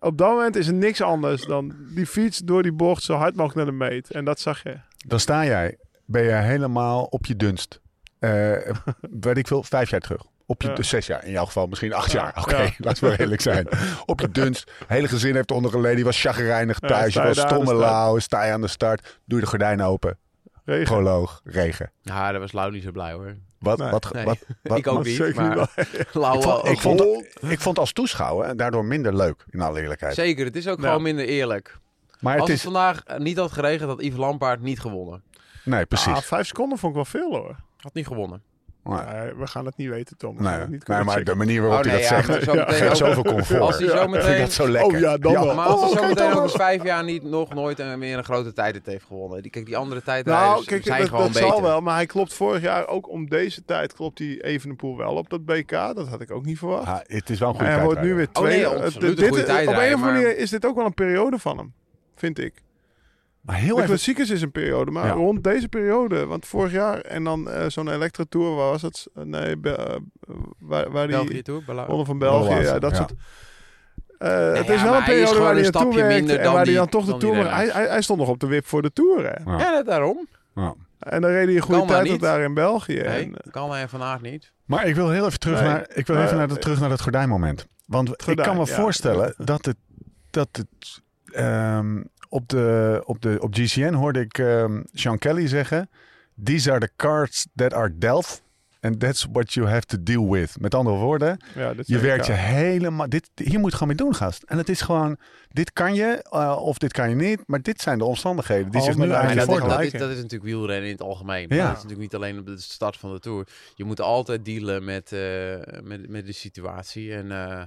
Speaker 3: op dat moment is er niks anders dan die fiets door die bocht zo hard mogelijk naar de meet. En dat zag je.
Speaker 1: Dan sta jij, ben je helemaal op je dunst. Eh
Speaker 3: [laughs]
Speaker 1: weet ik veel, vijf jaar terug. Op je,
Speaker 3: Ja.
Speaker 1: dus zes jaar, in jouw geval misschien acht
Speaker 3: Ja,
Speaker 1: jaar. Oké,
Speaker 3: ja.
Speaker 1: [laughs] laten we eerlijk zijn. Op je dunst, hele gezin heeft ondergeleden. Die was chagrijnig
Speaker 3: Ja,
Speaker 1: thuis,
Speaker 3: sta
Speaker 1: je
Speaker 3: je
Speaker 1: was
Speaker 3: daar aan de
Speaker 1: stomme
Speaker 3: start.
Speaker 1: lauw. Sta je aan de start, doe je de gordijnen open.
Speaker 3: Regen.
Speaker 1: Proloog, regen.
Speaker 4: Ja, daar was Lau niet zo blij hoor.
Speaker 1: Wat,
Speaker 3: Nee.
Speaker 1: wat,
Speaker 4: Nee, [laughs]
Speaker 1: wat, wat-
Speaker 4: ik ook
Speaker 1: wat-
Speaker 4: niet.
Speaker 3: zeker
Speaker 4: Maar [laughs] Lau Oh,
Speaker 1: Ik vond,
Speaker 4: wel.
Speaker 1: ik, vond, ik vond als toeschouwer en daardoor minder leuk, in alle eerlijkheid.
Speaker 4: Zeker, het is ook
Speaker 3: Ja.
Speaker 4: gewoon minder eerlijk.
Speaker 1: Maar het
Speaker 4: Als het
Speaker 1: is...
Speaker 4: vandaag eh, niet had geregend, had Yves Lampaard niet gewonnen.
Speaker 1: Nee,
Speaker 3: Ah,
Speaker 1: precies.
Speaker 3: vijf seconden vond ik wel veel hoor.
Speaker 4: Had niet gewonnen.
Speaker 1: Nee.
Speaker 3: Nee, we gaan het niet weten, Tom. We gaan
Speaker 1: Nee,
Speaker 3: het niet
Speaker 1: nee,
Speaker 3: kunnen
Speaker 1: maar de
Speaker 3: checken.
Speaker 1: manier waarop
Speaker 4: Oh,
Speaker 1: hij
Speaker 4: nee,
Speaker 1: dat
Speaker 4: ja,
Speaker 1: zegt,
Speaker 4: [laughs] maar zo meteen
Speaker 1: geeft
Speaker 4: ook-
Speaker 1: zoveel comfort.
Speaker 4: Als hij zo
Speaker 1: Vind ik
Speaker 4: meteen...
Speaker 1: dat zo lekker.
Speaker 3: Oh ja, dan wel.
Speaker 4: Maar als hij
Speaker 3: Oh,
Speaker 4: zo
Speaker 3: oké,
Speaker 4: meteen over
Speaker 3: Thomas.
Speaker 4: vijf
Speaker 3: [laughs]
Speaker 4: jaar niet, nog nooit en weer een grote tijdrit heeft gewonnen. Die, kijk, die andere tijdrijders
Speaker 3: Nou, kijk,
Speaker 4: zijn
Speaker 3: dat,
Speaker 4: gewoon
Speaker 3: dat
Speaker 4: beter.
Speaker 3: zal wel. Maar hij klopt vorig jaar ook om deze tijd. Klopt hij Evenepoel wel op dat BK. Dat had ik ook niet verwacht.
Speaker 1: Ah, het is wel een
Speaker 3: en
Speaker 1: goede
Speaker 3: hij wordt nu
Speaker 1: tijdrijder.
Speaker 3: weer
Speaker 4: Oh, nee,
Speaker 3: twee.
Speaker 4: absoluut
Speaker 3: dit,
Speaker 4: een goede
Speaker 3: op een of andere
Speaker 4: tijdrijder,
Speaker 3: manier
Speaker 4: maar-
Speaker 3: is dit ook wel een periode van hem. Vind ik.
Speaker 1: Maar heel
Speaker 3: De
Speaker 1: even...
Speaker 3: klassiekers is een periode. Maar
Speaker 1: Ja.
Speaker 3: rond deze periode. Want vorig jaar. En dan eh, zo'n Electra Tour. Waar was het? Nee, Be- eh, waar, waar die...
Speaker 4: België toe, Bela-
Speaker 3: Ronde van België.
Speaker 1: België,
Speaker 3: Ja, dat
Speaker 1: Oh, ja.
Speaker 3: soort... Eh, het
Speaker 4: ja,
Speaker 3: is wel
Speaker 4: maar
Speaker 3: een
Speaker 4: hij is
Speaker 3: periode
Speaker 4: gewoon
Speaker 3: waar
Speaker 4: een
Speaker 3: hij naartoe
Speaker 4: stapje minder
Speaker 3: werkte en
Speaker 4: dan
Speaker 3: waar hij
Speaker 4: die-
Speaker 3: dan toch de
Speaker 4: dan die
Speaker 3: Tour... Hij,
Speaker 4: renners.
Speaker 3: hij, hij stond nog op de wip voor de Tour, hè?
Speaker 1: Ja.
Speaker 4: Ja, net daarom.
Speaker 1: Ja.
Speaker 3: En dan reed hij een goede
Speaker 4: Kan maar
Speaker 3: tijd tot
Speaker 4: niet.
Speaker 3: daar in België.
Speaker 4: Nee,
Speaker 3: En, eh,
Speaker 4: kan hij vandaag niet.
Speaker 1: Maar ik wil heel even terug
Speaker 3: Nee,
Speaker 1: naar, ik wil
Speaker 3: maar-
Speaker 1: even naar, de, terug naar dat gordijnmoment. Want
Speaker 3: gordijn,
Speaker 1: ik kan me
Speaker 3: ja.
Speaker 1: voorstellen dat het... Dat het ehm, op, de, op, de, op GCN hoorde ik ehm Sean Kelly zeggen... These are the cards that are dealt. And that's what you have to deal with. Met andere woorden,
Speaker 3: eh, ja, dat
Speaker 1: Je
Speaker 3: zei ik
Speaker 1: werkt je
Speaker 3: al.
Speaker 1: helemaal. Dit, hier moet je gewoon mee doen, gast. En het is gewoon: dit kan je eh, of dit kan je niet. Maar dit zijn de omstandigheden die
Speaker 3: Oh,
Speaker 1: zich
Speaker 3: maar
Speaker 1: nu
Speaker 3: daar-
Speaker 1: aan
Speaker 4: Maar
Speaker 1: je
Speaker 4: dat, is,
Speaker 1: voordoen.
Speaker 4: dat, is,
Speaker 3: gelijk in.
Speaker 4: dat is natuurlijk wielrennen in het algemeen.
Speaker 1: Ja.
Speaker 4: Maar dat is natuurlijk niet alleen op de start van de Tour. Je moet altijd dealen met, eh, met, met de situatie. En eh,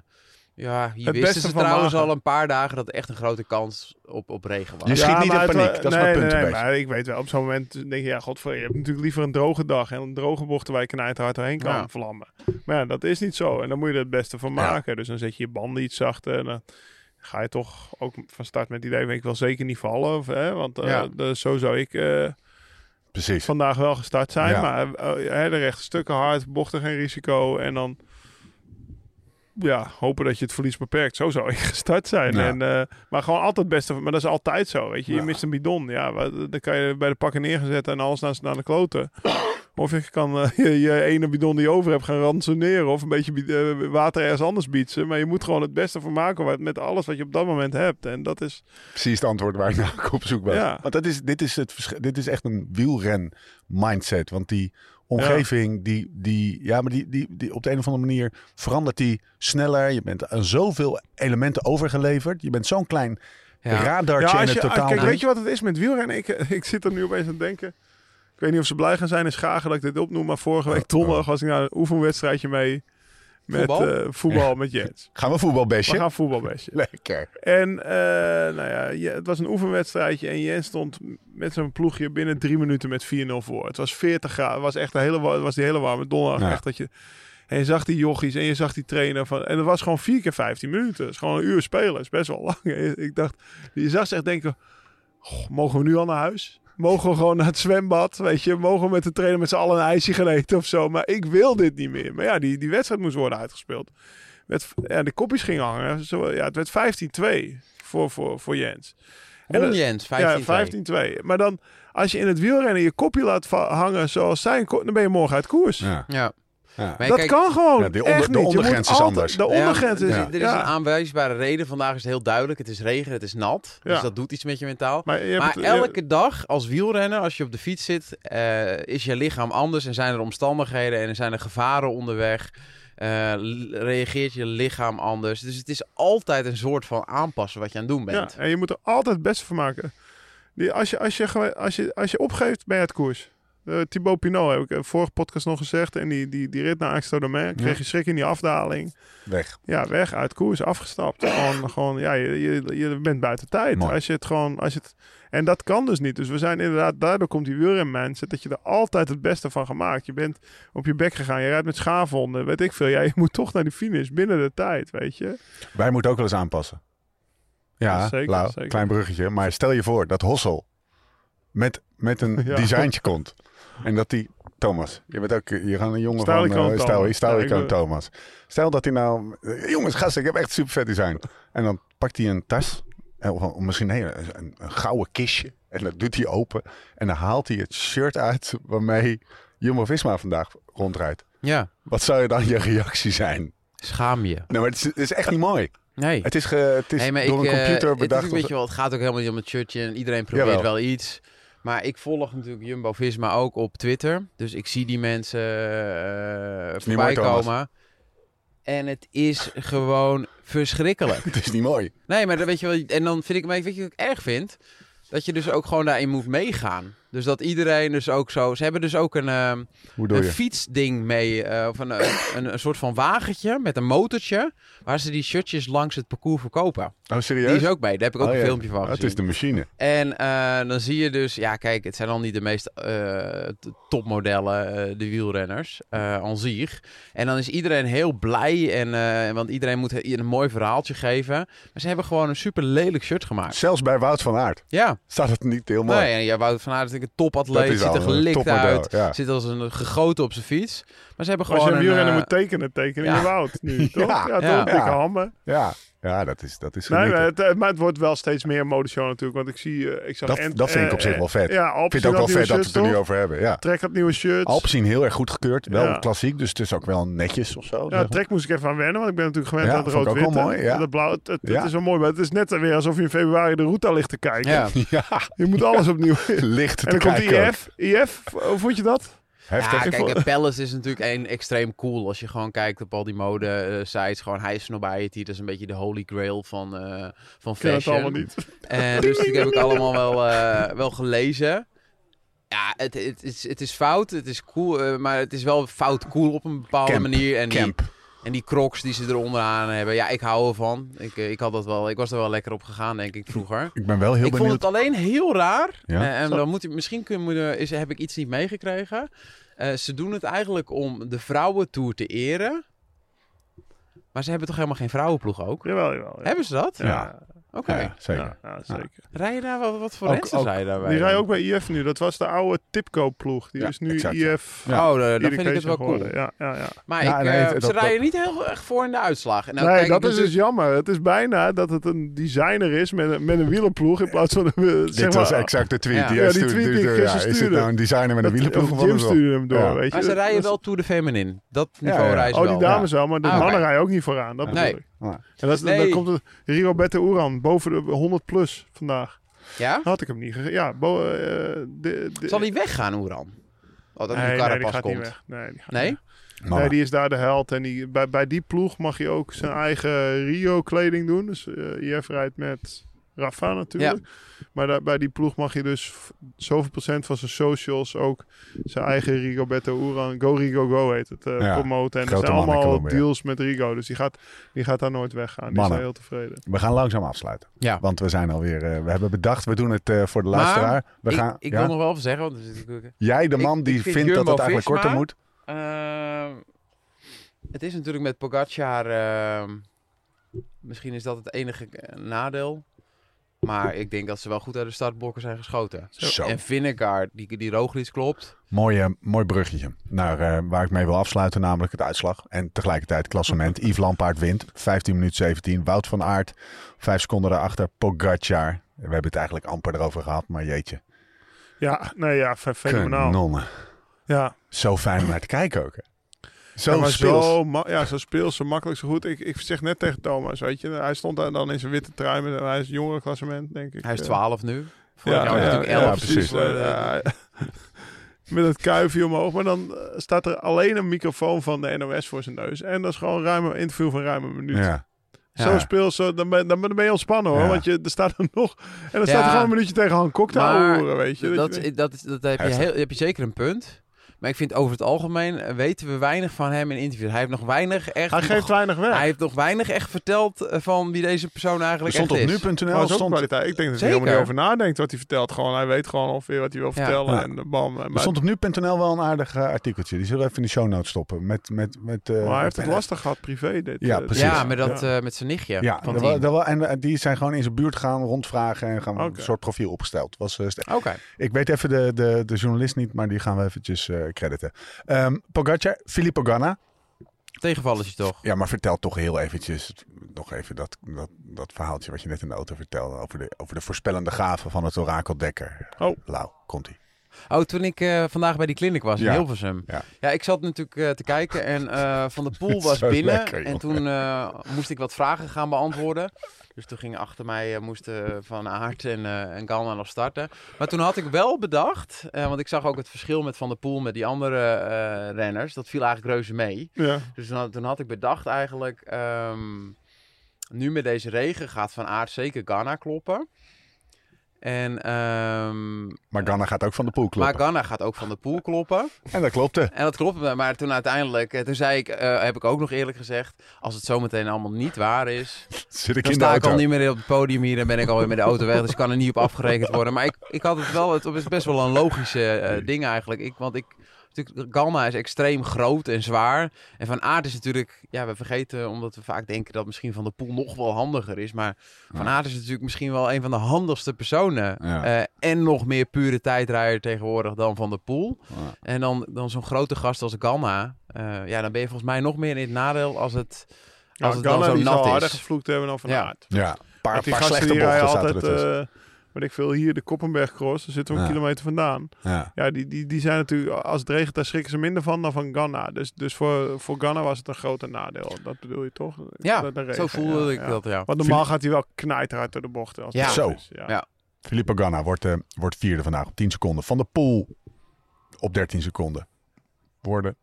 Speaker 4: ja, hier
Speaker 3: Het
Speaker 4: wisten
Speaker 3: beste
Speaker 4: ze
Speaker 3: van
Speaker 4: trouwens
Speaker 3: Wagen.
Speaker 4: al een paar dagen dat er echt een grote kans op, op regen was.
Speaker 1: Je schiet niet in
Speaker 3: maar het
Speaker 1: paniek.
Speaker 3: wa-
Speaker 1: Dat is
Speaker 3: nee,
Speaker 1: mijn punt
Speaker 3: nee,
Speaker 1: een
Speaker 3: nee,
Speaker 1: beetje.
Speaker 3: maar ik weet wel, op zo'n moment denk je, ja, godver, je hebt natuurlijk liever een droge dag en een droge bocht waar je knijt hard doorheen kan
Speaker 4: Ja.
Speaker 3: vlammen. Maar ja, dat is niet zo. En dan moet je er het beste van
Speaker 1: Ja.
Speaker 3: maken. Dus dan zet je je banden iets zachter en dan ga je toch ook van start met het idee, ik wil zeker niet vallen. Of, hè, want eh,
Speaker 4: Ja.
Speaker 3: de- zo zou ik eh,
Speaker 1: Precies.
Speaker 3: vandaag wel gestart zijn.
Speaker 1: Ja.
Speaker 3: Maar eh, hè, de rechte stukken hard, bochten geen risico. En dan ja, hopen dat je het verlies beperkt. Zo zou ik [laughs] gestart zijn.
Speaker 1: Ja.
Speaker 3: En, eh, maar gewoon altijd het beste. Maar dat is altijd zo, weet je. Je
Speaker 1: Ja.
Speaker 3: mist een bidon. Ja, wa- dan kan je bij de pakken neergezet en alles naar, naar de
Speaker 1: [coughs]
Speaker 3: kloten. Of je kan eh, [laughs] je, je ene bidon die je over hebt gaan ransoneren. Of een beetje bi- eh, water ergens anders bieden. Maar je moet gewoon het beste van maken wat- met alles wat je op dat moment hebt. En dat is...
Speaker 1: Precies het antwoord waar ik naar ook op zoek was.
Speaker 3: Ja.
Speaker 1: Want dat is, dit, is het verschil- dit is echt een wielren mindset. Want die omgeving, die, die, ja, maar die, die, die, op de een of andere manier verandert die sneller. Je bent aan zoveel elementen overgeleverd. Je bent zo'n klein
Speaker 4: Ja.
Speaker 1: radartje in
Speaker 3: als
Speaker 1: het
Speaker 3: je- ah,
Speaker 1: totaal.
Speaker 3: Kijk, weet je wat het is met wielrennen? Ik, eh, ik zit er nu opeens aan te denken. Ik weet niet of ze blij gaan zijn in Schagen dat ik dit opnoem. Maar vorige
Speaker 1: Oh,
Speaker 3: week donderdag was ik naar een oefenwedstrijdje mee. Met
Speaker 4: Voetbal?
Speaker 3: eh, voetbal
Speaker 1: [laughs]
Speaker 3: met Jens.
Speaker 1: Gaan we voetbalbestje?
Speaker 3: We gaan voetbalbestje.
Speaker 1: Lekker.
Speaker 3: En eh, nou ja, je- het was een oefenwedstrijdje. En Jens stond met zijn ploegje binnen drie minuten met 4-0 voor. Het was 40 graden. Het was echt een hele, wa- het was die hele warme donderdag.
Speaker 1: Ja.
Speaker 3: Echt dat je, en je zag die jochies en je zag die trainer. Van, en het was gewoon vier keer 15 minuten. Het is gewoon een uur [laughs] spelen. Het is best wel lang. Ik dacht, je zag ze echt denken... "Goh, mogen we nu al naar huis? Mogen we gewoon naar het zwembad, weet je. Mogen we met de trainer met z'n allen een ijsje gaan eten of zo. Maar ik wil dit niet meer. Maar ja, die, die wedstrijd moest worden uitgespeeld. Werd, ja, de kopjes gingen hangen. Zo, ja, het werd 15-2 voor, voor, voor Jens. En
Speaker 4: Won
Speaker 3: dat-
Speaker 4: Jens, 15-2.
Speaker 3: Ja, 15-2. Maar dan, als je in het wielrennen je kopje laat va- hangen zoals zijn, ko- dan ben je morgen uit koers.
Speaker 1: Ja.
Speaker 4: Ja.
Speaker 1: Ja.
Speaker 4: Maar
Speaker 3: dat
Speaker 4: kijk,
Speaker 3: kan gewoon.
Speaker 1: Ja, de onder-
Speaker 3: Echt
Speaker 1: de
Speaker 3: niet. Je moet
Speaker 1: ondergrens is
Speaker 3: altijd-
Speaker 1: anders.
Speaker 3: De
Speaker 4: Ja,
Speaker 3: ondergrens is.
Speaker 4: er-
Speaker 3: Ja,
Speaker 4: Er is een aanwijsbare reden. Vandaag is het heel duidelijk. Het is regen, het is nat.
Speaker 3: Ja.
Speaker 4: Dus dat doet iets met je mentaal.
Speaker 3: Maar, je hebt
Speaker 4: Maar
Speaker 3: het- eh,
Speaker 4: elke dag als wielrenner, als je op de fiets zit, eh, is je lichaam anders en zijn er omstandigheden en er zijn er gevaren onderweg. Eh, l- reageert je lichaam anders. Dus het is altijd een soort van aanpassen wat je aan het
Speaker 3: ja,
Speaker 4: doen bent.
Speaker 3: en je moet er altijd het beste van maken. Die, als, je, als, je, gewoon- als, je, als je opgeeft, ben je het koers. Eh Thibaut Pinot heb ik eh, vorige podcast nog gezegd. En die, die, die rit naar Axto Domain. Kreeg je schrik in die afdaling.
Speaker 1: Weg.
Speaker 3: Ja, weg uit koers, afgestapt. gewoon, gewoon, ja, je, je, je bent buiten tijd.
Speaker 1: Mooi.
Speaker 3: Als je het gewoon, als je het, en dat kan dus niet. Dus we zijn inderdaad, daardoor komt die wielrenmindset dat je er altijd het beste van gemaakt. Je bent op je bek gegaan, je rijdt met schaafhonden, weet ik veel. Ja, je moet toch naar die finish binnen de tijd, weet je.
Speaker 1: Wij moeten ook wel eens aanpassen. Ja,
Speaker 3: Ja, zeker,
Speaker 1: Lau,
Speaker 3: zeker.
Speaker 1: klein bruggetje. Maar stel je voor dat Hossel met, met een
Speaker 3: [laughs] Ja.
Speaker 1: designtje komt. En dat die... Thomas, je bent ook je gaat een jongen
Speaker 3: Stijlikoon
Speaker 1: van... eh,
Speaker 3: Thomas.
Speaker 1: Stijl,
Speaker 3: Ja,
Speaker 1: Stijl,
Speaker 3: ik wil-
Speaker 1: Thomas. Stel dat hij nou... eh, Jongens, gasten, ik heb echt super vet design. En dan pakt hij een tas. eh, Of, of misschien nee, een, een, een gouden kistje. En dat doet hij open. En dan haalt hij het shirt uit waarmee Jumbo-Visma vandaag rondrijdt.
Speaker 4: Ja,
Speaker 1: Wat zou je dan je reactie zijn?
Speaker 4: schaam je.
Speaker 1: Nou, maar het is, het is echt niet mooi.
Speaker 4: Nee.
Speaker 1: Het is, ge- het is
Speaker 4: Nee, maar
Speaker 1: door
Speaker 4: ik,
Speaker 1: een
Speaker 4: eh,
Speaker 1: computer
Speaker 4: het is
Speaker 1: bedacht.
Speaker 4: een
Speaker 1: of-
Speaker 4: beetje wel- het gaat ook helemaal niet om het shirtje en iedereen probeert
Speaker 1: Jawel.
Speaker 4: wel iets. Maar ik volg natuurlijk Jumbo Visma ook op Twitter. Dus ik zie die mensen eh
Speaker 1: niet
Speaker 4: voorbij
Speaker 1: mooi, Thomas.
Speaker 4: komen. En het is gewoon
Speaker 1: [laughs]
Speaker 4: verschrikkelijk.
Speaker 1: Het is niet mooi.
Speaker 4: Nee, maar dan weet je wel. En dan vind ik, maar weet je wat ik erg vind? Dat je dus ook gewoon daarin moet meegaan. Dus dat iedereen dus ook zo. Ze hebben dus ook een, ehm,
Speaker 1: Hoe doe
Speaker 4: een
Speaker 1: je?
Speaker 4: fietsding mee. eh, of een, een, een soort van wagentje met een motortje. Waar ze die shirtjes langs het parcours verkopen.
Speaker 1: Oh, serieus?
Speaker 4: Die is ook mee. Daar heb ik ook
Speaker 1: Oh,
Speaker 4: een
Speaker 1: ja.
Speaker 4: filmpje van
Speaker 1: Ah,
Speaker 4: gezien.
Speaker 1: Het is de machine.
Speaker 4: En eh, dan zie je dus, ja, kijk, het zijn al niet de meest eh, t- topmodellen, eh, de wielrenners, eh aan zich. En dan is iedereen heel blij, en, eh, want iedereen moet he- een mooi verhaaltje geven. Maar ze hebben gewoon een super lelijk shirt gemaakt.
Speaker 1: Zelfs bij Wout van Aert
Speaker 4: Ja,
Speaker 1: staat het niet heel mooi.
Speaker 4: nee, en ja, Wout van Aert is natuurlijk een
Speaker 1: Dat
Speaker 4: topatleet,
Speaker 1: is
Speaker 4: ziet
Speaker 1: al
Speaker 4: er
Speaker 1: een
Speaker 4: gelikt
Speaker 1: topmodel,
Speaker 4: uit,
Speaker 1: ja.
Speaker 4: zit als een gegoten op zijn fiets. Maar ze hebben
Speaker 3: Als
Speaker 4: gewoon
Speaker 3: je een wielrenner
Speaker 4: eh,
Speaker 3: moet tekenen, tekenen
Speaker 4: ja.
Speaker 3: je Wout
Speaker 1: [laughs]
Speaker 3: nu, toch?
Speaker 1: Ja,
Speaker 3: Ja, toch?
Speaker 4: ja.
Speaker 3: Dikke
Speaker 1: Ja.
Speaker 3: hammen.
Speaker 1: Ja. ja, dat is, dat is
Speaker 3: Nee,
Speaker 1: genieten.
Speaker 3: maar het, eh, maar het wordt wel steeds meer modeshow natuurlijk. Want ik zie... eh, Ik zag
Speaker 1: dat,
Speaker 3: Ent-
Speaker 1: dat vind ik
Speaker 3: eh,
Speaker 1: op zich wel vet.
Speaker 3: eh, Ja,
Speaker 1: ik vind het ook wel vet dat we het er nu
Speaker 3: nu
Speaker 1: over hebben. Ja.
Speaker 3: Trek had nieuwe shirts.
Speaker 1: Alpecin heel erg goed gekeurd. Wel
Speaker 3: Ja.
Speaker 1: klassiek, dus het is ook wel netjes of zo. zeg
Speaker 3: Ja,
Speaker 1: maar.
Speaker 3: Trek moest ik even aan wennen, want ik ben natuurlijk gewend
Speaker 1: Ja,
Speaker 3: aan het
Speaker 1: vond ik ook wel
Speaker 3: rood-wit. hè.
Speaker 1: mooi, ja.
Speaker 3: Dat blauw, het, het- het
Speaker 1: Ja.
Speaker 3: is wel mooi, maar het is net weer alsof je in februari de route ligt te kijken.
Speaker 4: ja.
Speaker 1: [laughs] ja,
Speaker 3: Je moet alles
Speaker 1: [laughs]
Speaker 3: opnieuw... en
Speaker 1: licht te
Speaker 3: dan komt
Speaker 1: kijken ook.
Speaker 3: IF. IF, hoe eh, vond je dat?
Speaker 1: Heftig.
Speaker 4: Ja, kijk, en Palace is natuurlijk een extreem cool. Als je gewoon kijkt op al die mode eh, sites, gewoon hij is snobiety. Dat is een beetje de holy grail van, eh van
Speaker 3: Ik ken het
Speaker 4: fashion.
Speaker 3: allemaal niet.
Speaker 4: En dus die heb ik allemaal wel, eh, wel gelezen. Ja, het, het, is, het is fout, het is cool, eh, maar het is wel fout cool op een bepaalde
Speaker 1: Camp,
Speaker 4: manier. En die,
Speaker 1: Camp.
Speaker 4: en die crocs die ze eronder aan hebben, ja, ik hou ervan. Ik, eh, ik, had dat wel, ik was er wel lekker op gegaan, denk ik, vroeger.
Speaker 1: Ik ben wel heel
Speaker 4: ik
Speaker 1: benieuwd.
Speaker 4: vond het alleen heel raar.
Speaker 1: Ja?
Speaker 4: Eh, en dan moet je, misschien kunnen we- is, heb ik iets niet meegekregen. Eh, ze doen het eigenlijk om de vrouwentour te eren. Maar ze hebben toch helemaal geen vrouwenploeg ook?
Speaker 3: Jawel, jawel. Ja,
Speaker 4: Hebben ze dat?
Speaker 1: Ja, ja,
Speaker 4: Oké.
Speaker 1: zeker.
Speaker 3: ja, zeker.
Speaker 4: Rij je daar wel wat voor
Speaker 1: Ook-
Speaker 4: mensen
Speaker 1: ook-
Speaker 4: rij je daarbij?
Speaker 3: Die
Speaker 4: dan?
Speaker 3: rijden ook bij IF nu. Dat was de oude Tipco-ploeg.
Speaker 1: eh,
Speaker 3: Die
Speaker 1: Ja,
Speaker 3: is nu
Speaker 1: exact, ja.
Speaker 3: IF...
Speaker 1: Ja.
Speaker 4: Oh, eh, dan vind ik het wel
Speaker 3: Irritation
Speaker 4: cool.
Speaker 3: geworden. Ja, ja, ja.
Speaker 4: Maar
Speaker 1: Ja,
Speaker 4: ik,
Speaker 1: nee,
Speaker 4: eh,
Speaker 1: het-
Speaker 4: ze
Speaker 1: dat-
Speaker 4: rijden niet heel erg voor in de uitslag. En nou,
Speaker 3: nee,
Speaker 4: kijk,
Speaker 3: dat
Speaker 4: ik
Speaker 3: is dus
Speaker 4: natuurlijk-
Speaker 3: jammer. Het is bijna dat het een designer is met een, met een wielenploeg in plaats van een... eh,
Speaker 1: Dit
Speaker 3: zeg maar,
Speaker 1: was exact de tweet
Speaker 4: Ja.
Speaker 1: die
Speaker 4: Ja,
Speaker 1: hij
Speaker 3: die
Speaker 1: stuurde.
Speaker 3: tweet die ik
Speaker 1: stuurde, ja.
Speaker 3: gisteren
Speaker 1: Is dit nou een designer met een
Speaker 3: dat-
Speaker 1: wielenploeg?
Speaker 3: of
Speaker 1: of wat
Speaker 3: Jim
Speaker 1: dan ook?
Speaker 3: stuurde hem door,
Speaker 1: Ja.
Speaker 3: weet je.
Speaker 4: Maar ze rijden
Speaker 3: Dat
Speaker 4: wel Tour de Feminine. Dat
Speaker 1: Ja,
Speaker 4: niveau
Speaker 1: ja.
Speaker 4: rijden
Speaker 3: is-
Speaker 4: ze
Speaker 3: dus- Oh,
Speaker 4: wel.
Speaker 3: die dames wel, maar de
Speaker 4: Ah, oké.
Speaker 3: mannen rijden ook niet vooraan. Dat bedoel
Speaker 4: Nee.
Speaker 3: ik.
Speaker 1: Ja.
Speaker 3: En dat is,
Speaker 4: Nee.
Speaker 3: dan komt het Rigoberto Uran boven de 100 plus vandaag.
Speaker 4: Ja?
Speaker 3: Had ik hem niet gegeven. Ja, bo, eh, de, de,
Speaker 4: Zal hij weggaan, Oeran? Oh, dat
Speaker 3: nee,
Speaker 4: nu
Speaker 3: nee, die
Speaker 4: Carapaz
Speaker 3: gaat niet
Speaker 4: komt.
Speaker 3: weg. Nee, die gaat
Speaker 4: Nee?
Speaker 3: niet weg. Nee, die is daar de held. En die, bij, bij die ploeg mag je ook zijn eigen Rio-kleding doen. Dus eh IF rijdt met Rafa natuurlijk. Maar daar, bij die ploeg mag je dus v- zoveel procent van zijn socials ook zijn eigen Rigoberto Uran, Go Rigo Go heet het, eh,
Speaker 1: Ja,
Speaker 3: promoten. En er
Speaker 1: grote
Speaker 3: zijn
Speaker 1: man in
Speaker 3: allemaal
Speaker 1: Colombia.
Speaker 3: deals met Rigo. Dus die gaat, die gaat daar nooit weggaan. Die is
Speaker 1: Mannen.
Speaker 3: daar heel tevreden.
Speaker 1: We gaan langzaam afsluiten.
Speaker 4: Ja.
Speaker 1: Want we zijn alweer. eh, we hebben bedacht, we doen het eh, voor de
Speaker 4: Maar
Speaker 1: luisteraar. We
Speaker 4: ik
Speaker 1: gaan,
Speaker 4: ik
Speaker 1: ja?
Speaker 4: wil nog wel even zeggen, want er zit natuurlijk-
Speaker 1: Jij, de
Speaker 4: ik-
Speaker 1: man
Speaker 4: ik
Speaker 1: die
Speaker 4: vind
Speaker 1: vindt dat het
Speaker 4: Jumbo
Speaker 1: eigenlijk
Speaker 4: Visma-
Speaker 1: korter moet.
Speaker 4: Ehm, het is natuurlijk met Pogacar... ehm, misschien is dat het enige eh, nadeel. Maar ik denk dat ze wel goed uit de startblokken zijn geschoten.
Speaker 1: Zo.
Speaker 4: En Vinegar, die, die Roglic klopt.
Speaker 1: Mooi, eh, mooi bruggetje naar eh, waar ik mee wil afsluiten, namelijk het uitslag. En tegelijkertijd klassement. Yves Lampaard wint, 15 minuten 17. Wout van Aert, 5 seconden daarachter. Pogacar. We hebben het eigenlijk amper erover gehad, maar jeetje.
Speaker 3: Ja, nee, ja, fe- fenomenaal.
Speaker 1: Kanonnen.
Speaker 3: Ja,
Speaker 1: Zo fijn om naar te kijken ook. hè. Zo
Speaker 3: Ja, maar
Speaker 1: speels.
Speaker 3: Zo, ma- ja, zo speels, zo makkelijk, zo goed. Ik, ik zeg net tegen Thomas, weet je. Hij stond daar dan in zijn witte trui. Met, hij is jongere klassement, denk ik.
Speaker 4: Hij is
Speaker 3: Eh,
Speaker 4: 12 nu. Vorig jaar was hij natuurlijk
Speaker 1: ja,
Speaker 4: 11.
Speaker 1: precies.
Speaker 4: Dus, eh,
Speaker 3: Ja, [laughs] met het kuifje omhoog. Maar dan eh, staat er alleen een microfoon van de NOS voor zijn neus. En dat is gewoon ruim een interview van ruim een minuut.
Speaker 1: Ja.
Speaker 3: Zo
Speaker 1: Ja.
Speaker 3: speels, zo, dan, ben, dan ben je ontspannen hoor.
Speaker 1: Ja.
Speaker 3: Want je, er staat er nog... En dan
Speaker 4: Ja.
Speaker 3: staat er gewoon een minuutje tegen Han Kok te
Speaker 4: Maar
Speaker 3: ouwehoeren, weet je.
Speaker 4: dat,
Speaker 3: je
Speaker 4: dat, is- dat heb, je
Speaker 1: Heftig.
Speaker 4: heel, heb je zeker een punt. Maar ik vind over het algemeen eh, weten we weinig van hem in interviews. Hij heeft nog weinig echt...
Speaker 3: hij geeft weinig weg.
Speaker 4: hij heeft nog weinig echt verteld eh, van wie deze persoon
Speaker 1: Er
Speaker 4: eigenlijk
Speaker 1: stond op
Speaker 4: echt is.
Speaker 3: Maar
Speaker 1: nu.nl
Speaker 3: dat is ook
Speaker 1: stond,
Speaker 3: kwaliteit. Ik denk dat hij
Speaker 4: Zeker.
Speaker 3: helemaal niet over nadenkt wat hij vertelt. Gewoon, hij weet gewoon ongeveer wat hij wil
Speaker 4: Ja.
Speaker 3: vertellen.
Speaker 1: Ja.
Speaker 3: En eh, bam. En
Speaker 1: er stond op nu.nl wel een aardig eh, artikeltje. Die zullen we even in de show notes stoppen. Met, met, met, eh,
Speaker 3: maar hij heeft het
Speaker 1: met-
Speaker 3: lastig gehad privé. Dit,
Speaker 1: Ja,
Speaker 3: eh,
Speaker 1: precies.
Speaker 4: Ja, met, dat,
Speaker 3: Ja.
Speaker 4: eh, met zijn nichtje.
Speaker 1: Ja,
Speaker 4: van
Speaker 1: dat
Speaker 4: tien.
Speaker 1: wel, dat wel, en eh, die zijn gewoon in zijn buurt gaan rondvragen en gaan
Speaker 3: Oké.
Speaker 1: een soort profiel opgesteld. Was, eh, st-
Speaker 4: Oké.
Speaker 1: ik weet even de, de, de journalist niet, maar die gaan we eventjes eh, crediten. Ehm Pogacar, Filippo Ganna.
Speaker 4: Tegenvallertje toch?
Speaker 1: Ja, maar vertel toch heel eventjes nog even dat, dat, dat verhaaltje wat je net in de auto vertelde over de, over de voorspellende gaven van het orakel Dekker.
Speaker 3: Oh.
Speaker 1: Lau, komt ie.
Speaker 4: Oh, toen ik eh, vandaag bij die clinic was
Speaker 1: Ja.
Speaker 4: in Hilversum.
Speaker 1: Ja.
Speaker 4: Ja. ik zat natuurlijk eh, te kijken en eh, Van der
Speaker 1: [laughs]
Speaker 4: Poel was
Speaker 1: Zo
Speaker 4: binnen.
Speaker 1: lekker, joh.
Speaker 4: en toen eh, moest ik wat vragen gaan beantwoorden. Dus toen gingen achter mij eh, moesten Van Aert en, eh en Galma nog starten. Maar toen had ik wel bedacht, eh, want ik zag ook het verschil met Van der Poel met die andere eh, renners. Dat viel eigenlijk reuze mee.
Speaker 3: Ja.
Speaker 4: Dus toen had, toen had ik bedacht eigenlijk, ehm, nu met deze regen gaat Van Aert zeker Ghana kloppen. En, ehm,
Speaker 1: Maar Ganna gaat ook van de poel kloppen.
Speaker 4: maar Ghana gaat ook van de poel kloppen.
Speaker 1: En dat eh. klopte.
Speaker 4: En dat klopt. Maar toen uiteindelijk, eh, toen zei ik, eh, heb ik ook nog eerlijk gezegd, als het zometeen allemaal niet waar is,
Speaker 1: Zit ik
Speaker 4: dan
Speaker 1: in de
Speaker 4: sta ik
Speaker 1: auto.
Speaker 4: al niet meer op het podium hier en ben ik alweer met de auto weg. Dus ik kan er niet op afgerekend worden. Maar ik, ik had het wel, het is best wel een logische eh, ding eigenlijk. Ik, want ik, natuurlijk, Galma is extreem groot en zwaar. En Van Aert is natuurlijk, ja, we vergeten omdat we vaak denken dat misschien Van der Poel nog wel handiger is. Maar Van Aert is natuurlijk misschien wel een van de handigste personen.
Speaker 1: Ja.
Speaker 4: Eh, en nog meer pure tijdrijder tegenwoordig dan Van der Poel. En dan, dan zo'n grote gast als Ganna. eh, ja, dan ben je volgens mij nog meer in het nadeel als het,
Speaker 3: Ja,
Speaker 4: als
Speaker 3: Nou,
Speaker 4: het dan
Speaker 3: Ganna,
Speaker 4: zo
Speaker 3: die zal
Speaker 4: nat
Speaker 3: harder
Speaker 4: is.
Speaker 3: gevloekt hebben dan Van
Speaker 4: Ja.
Speaker 3: Aert.
Speaker 1: Ja, een paar,
Speaker 3: Want die
Speaker 1: paar
Speaker 3: gasten
Speaker 1: slechte
Speaker 3: die
Speaker 1: bochten
Speaker 3: rijden
Speaker 1: zaten er
Speaker 3: altijd,
Speaker 1: tussen.
Speaker 3: eh weet ik veel, hier de Koppenberg Cross. Daar zitten we een
Speaker 1: Ja.
Speaker 3: kilometer vandaan.
Speaker 4: eh,
Speaker 1: ja.
Speaker 3: Ja, die, die, die zijn natuurlijk, als het regent, daar schrikken ze minder van dan van Ghana. Dus, dus voor, voor Ghana was het een groter nadeel. Dat bedoel je toch?
Speaker 4: Ja,
Speaker 3: Dat de
Speaker 4: zo
Speaker 3: regen,
Speaker 4: voelde
Speaker 3: ja,
Speaker 4: ik
Speaker 3: ja.
Speaker 4: dat, ja.
Speaker 3: Want normaal gaat hij wel knijterhard door de bochten. Als
Speaker 4: Ja.
Speaker 3: het
Speaker 1: Zo.
Speaker 3: is, Ja.
Speaker 4: Ja.
Speaker 1: Filippo Ganna wordt, eh, wordt vierde vandaag op 10 seconden. Van de Poel op 13 seconden. Worden.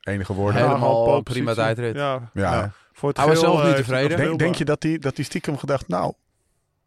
Speaker 1: Enige woorden.
Speaker 3: Ja,
Speaker 4: Helemaal
Speaker 3: gewoon pole
Speaker 4: prima
Speaker 3: positie.
Speaker 4: tijdrit.
Speaker 3: Ja.
Speaker 1: Ja, hè?
Speaker 3: Voor het
Speaker 4: Hij was
Speaker 3: geel,
Speaker 4: zelf
Speaker 3: eh, is
Speaker 4: niet
Speaker 3: het
Speaker 4: tevreden.
Speaker 3: nog
Speaker 1: Denk, denk je
Speaker 3: speelbaar.
Speaker 1: dat die, dat die stiekem gedacht, nou,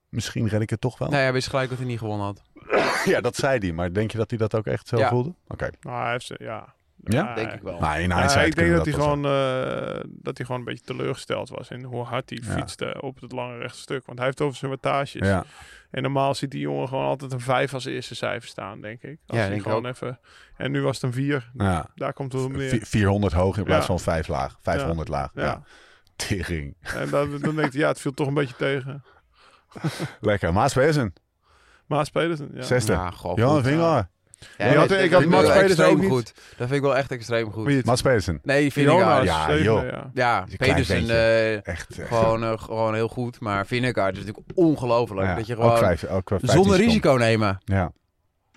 Speaker 1: misschien red ik het toch wel?
Speaker 4: Nee, hij wist gelijk dat hij niet gewonnen had.
Speaker 1: [laughs] Ja, dat zei hij. Maar denk je dat hij dat ook echt zo
Speaker 4: Ja.
Speaker 1: voelde? Oké.
Speaker 3: Nou, hij heeft ze, ja.
Speaker 1: Ja?
Speaker 4: Denk ik wel.
Speaker 1: Maar Nou, in
Speaker 3: Ja,
Speaker 1: hindsight
Speaker 3: ik denk
Speaker 1: kunnen
Speaker 3: dat,
Speaker 1: we
Speaker 3: hij
Speaker 1: wel
Speaker 3: gewoon, eh, dat hij gewoon een beetje teleurgesteld was in hoe hard hij
Speaker 1: Ja.
Speaker 3: fietste op het lange rechte stuk. Want hij heeft het over zijn wattages.
Speaker 1: zeggen. Ja.
Speaker 3: En normaal ziet die jongen gewoon altijd een 5 als eerste cijfer staan, denk ik. Als
Speaker 4: Ja,
Speaker 3: hij
Speaker 4: denk ik
Speaker 3: gewoon even. En nu was het een 4.
Speaker 1: Ja.
Speaker 3: Daar komt het op
Speaker 1: Vier-
Speaker 3: neer.
Speaker 1: 400 hoog in plaats
Speaker 3: Ja.
Speaker 1: van 5 laag. 500 laag. Ja.
Speaker 3: Ja.
Speaker 1: Tering. [laughs]
Speaker 3: En dan, dan denkt hij, ja, het viel toch een beetje tegen.
Speaker 1: Lekker. Maas Pedersen,
Speaker 3: Maar Pedersen, ja.
Speaker 1: zesde.
Speaker 4: Ja, goh,
Speaker 1: Johan
Speaker 4: goed.
Speaker 1: Vingegaard.
Speaker 4: Ja,
Speaker 3: Je
Speaker 4: nee,
Speaker 3: had-
Speaker 4: dat
Speaker 3: ik
Speaker 4: vind
Speaker 3: had
Speaker 4: ik
Speaker 3: Mats
Speaker 4: wel
Speaker 3: Pedersen
Speaker 4: extreem
Speaker 3: ook niet.
Speaker 4: goed. Dat vind ik wel echt extreem goed.
Speaker 3: Wie het?
Speaker 1: Maas Pedersen.
Speaker 4: Nee,
Speaker 3: Jona
Speaker 4: Vingegaard.
Speaker 3: is
Speaker 4: Ja,
Speaker 1: ja,
Speaker 3: zevende,
Speaker 1: joh.
Speaker 3: ja.
Speaker 4: ja
Speaker 1: Een klein
Speaker 4: Pedersen eh,
Speaker 1: Echt. eh,
Speaker 4: gewoon, eh, gewoon heel goed. Maar Vingegaard is natuurlijk ongelooflijk.
Speaker 1: ja,
Speaker 4: Dat je
Speaker 1: ook
Speaker 4: gewoon
Speaker 1: vijf, ook vijftien
Speaker 4: zonder
Speaker 1: seconden.
Speaker 4: risico nemen.
Speaker 1: Ja.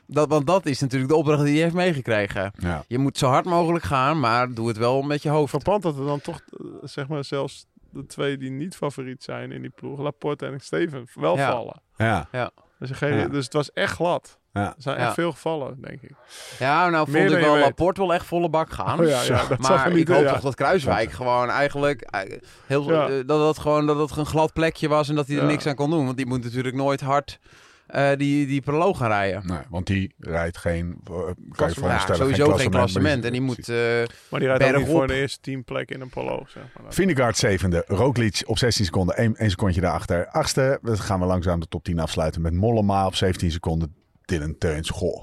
Speaker 4: Dat, want dat is natuurlijk de opdracht die hij heeft meegekregen.
Speaker 1: ja.
Speaker 4: Je moet zo hard mogelijk gaan, maar doe het wel met je hoofd.
Speaker 3: Verpand dat er dan toch, eh, zeg maar, zelfs de twee die niet favoriet zijn in die ploeg, Laporte en Steven, wel
Speaker 4: Ja.
Speaker 3: vallen.
Speaker 1: Ja.
Speaker 3: Dus, er geen-
Speaker 1: Ja.
Speaker 3: dus het was echt glad.
Speaker 1: Ja.
Speaker 3: Er zijn
Speaker 4: Ja.
Speaker 3: echt veel gevallen, denk ik.
Speaker 4: Ja, nou
Speaker 3: Meer
Speaker 4: vond
Speaker 3: dan
Speaker 4: ik
Speaker 3: je
Speaker 4: wel
Speaker 3: weet.
Speaker 4: Laporte wel echt volle bak gaan.
Speaker 3: Oh ja, ja, dat zag
Speaker 4: maar
Speaker 3: er
Speaker 4: ik
Speaker 3: niet
Speaker 4: hoop
Speaker 3: ja.
Speaker 4: toch dat Kruiswijk gewoon eigenlijk eh, heel,
Speaker 3: Ja.
Speaker 4: eh, dat dat gewoon dat dat een glad plekje was en dat hij er
Speaker 3: Ja.
Speaker 4: niks aan kon doen, want die moet natuurlijk nooit hard eh, die die proloog gaan rijden.
Speaker 1: Nee, want die rijdt geen. eh, Kan je
Speaker 3: Klassement.
Speaker 1: voorstellen,
Speaker 4: nou Ja, sowieso geen klassement
Speaker 1: maar
Speaker 4: en die moet eh,
Speaker 3: Maar die rijdt ook niet
Speaker 4: Bergop.
Speaker 3: voor de eerste teamplek in een polo, zeg maar.
Speaker 1: Vindegaard zevende, Roglic op 16 seconden, 1, secondje daarachter. Achtste, dan gaan we langzaam de top 10 afsluiten met Mollema op 17 seconden. Dylan Teuns, goh,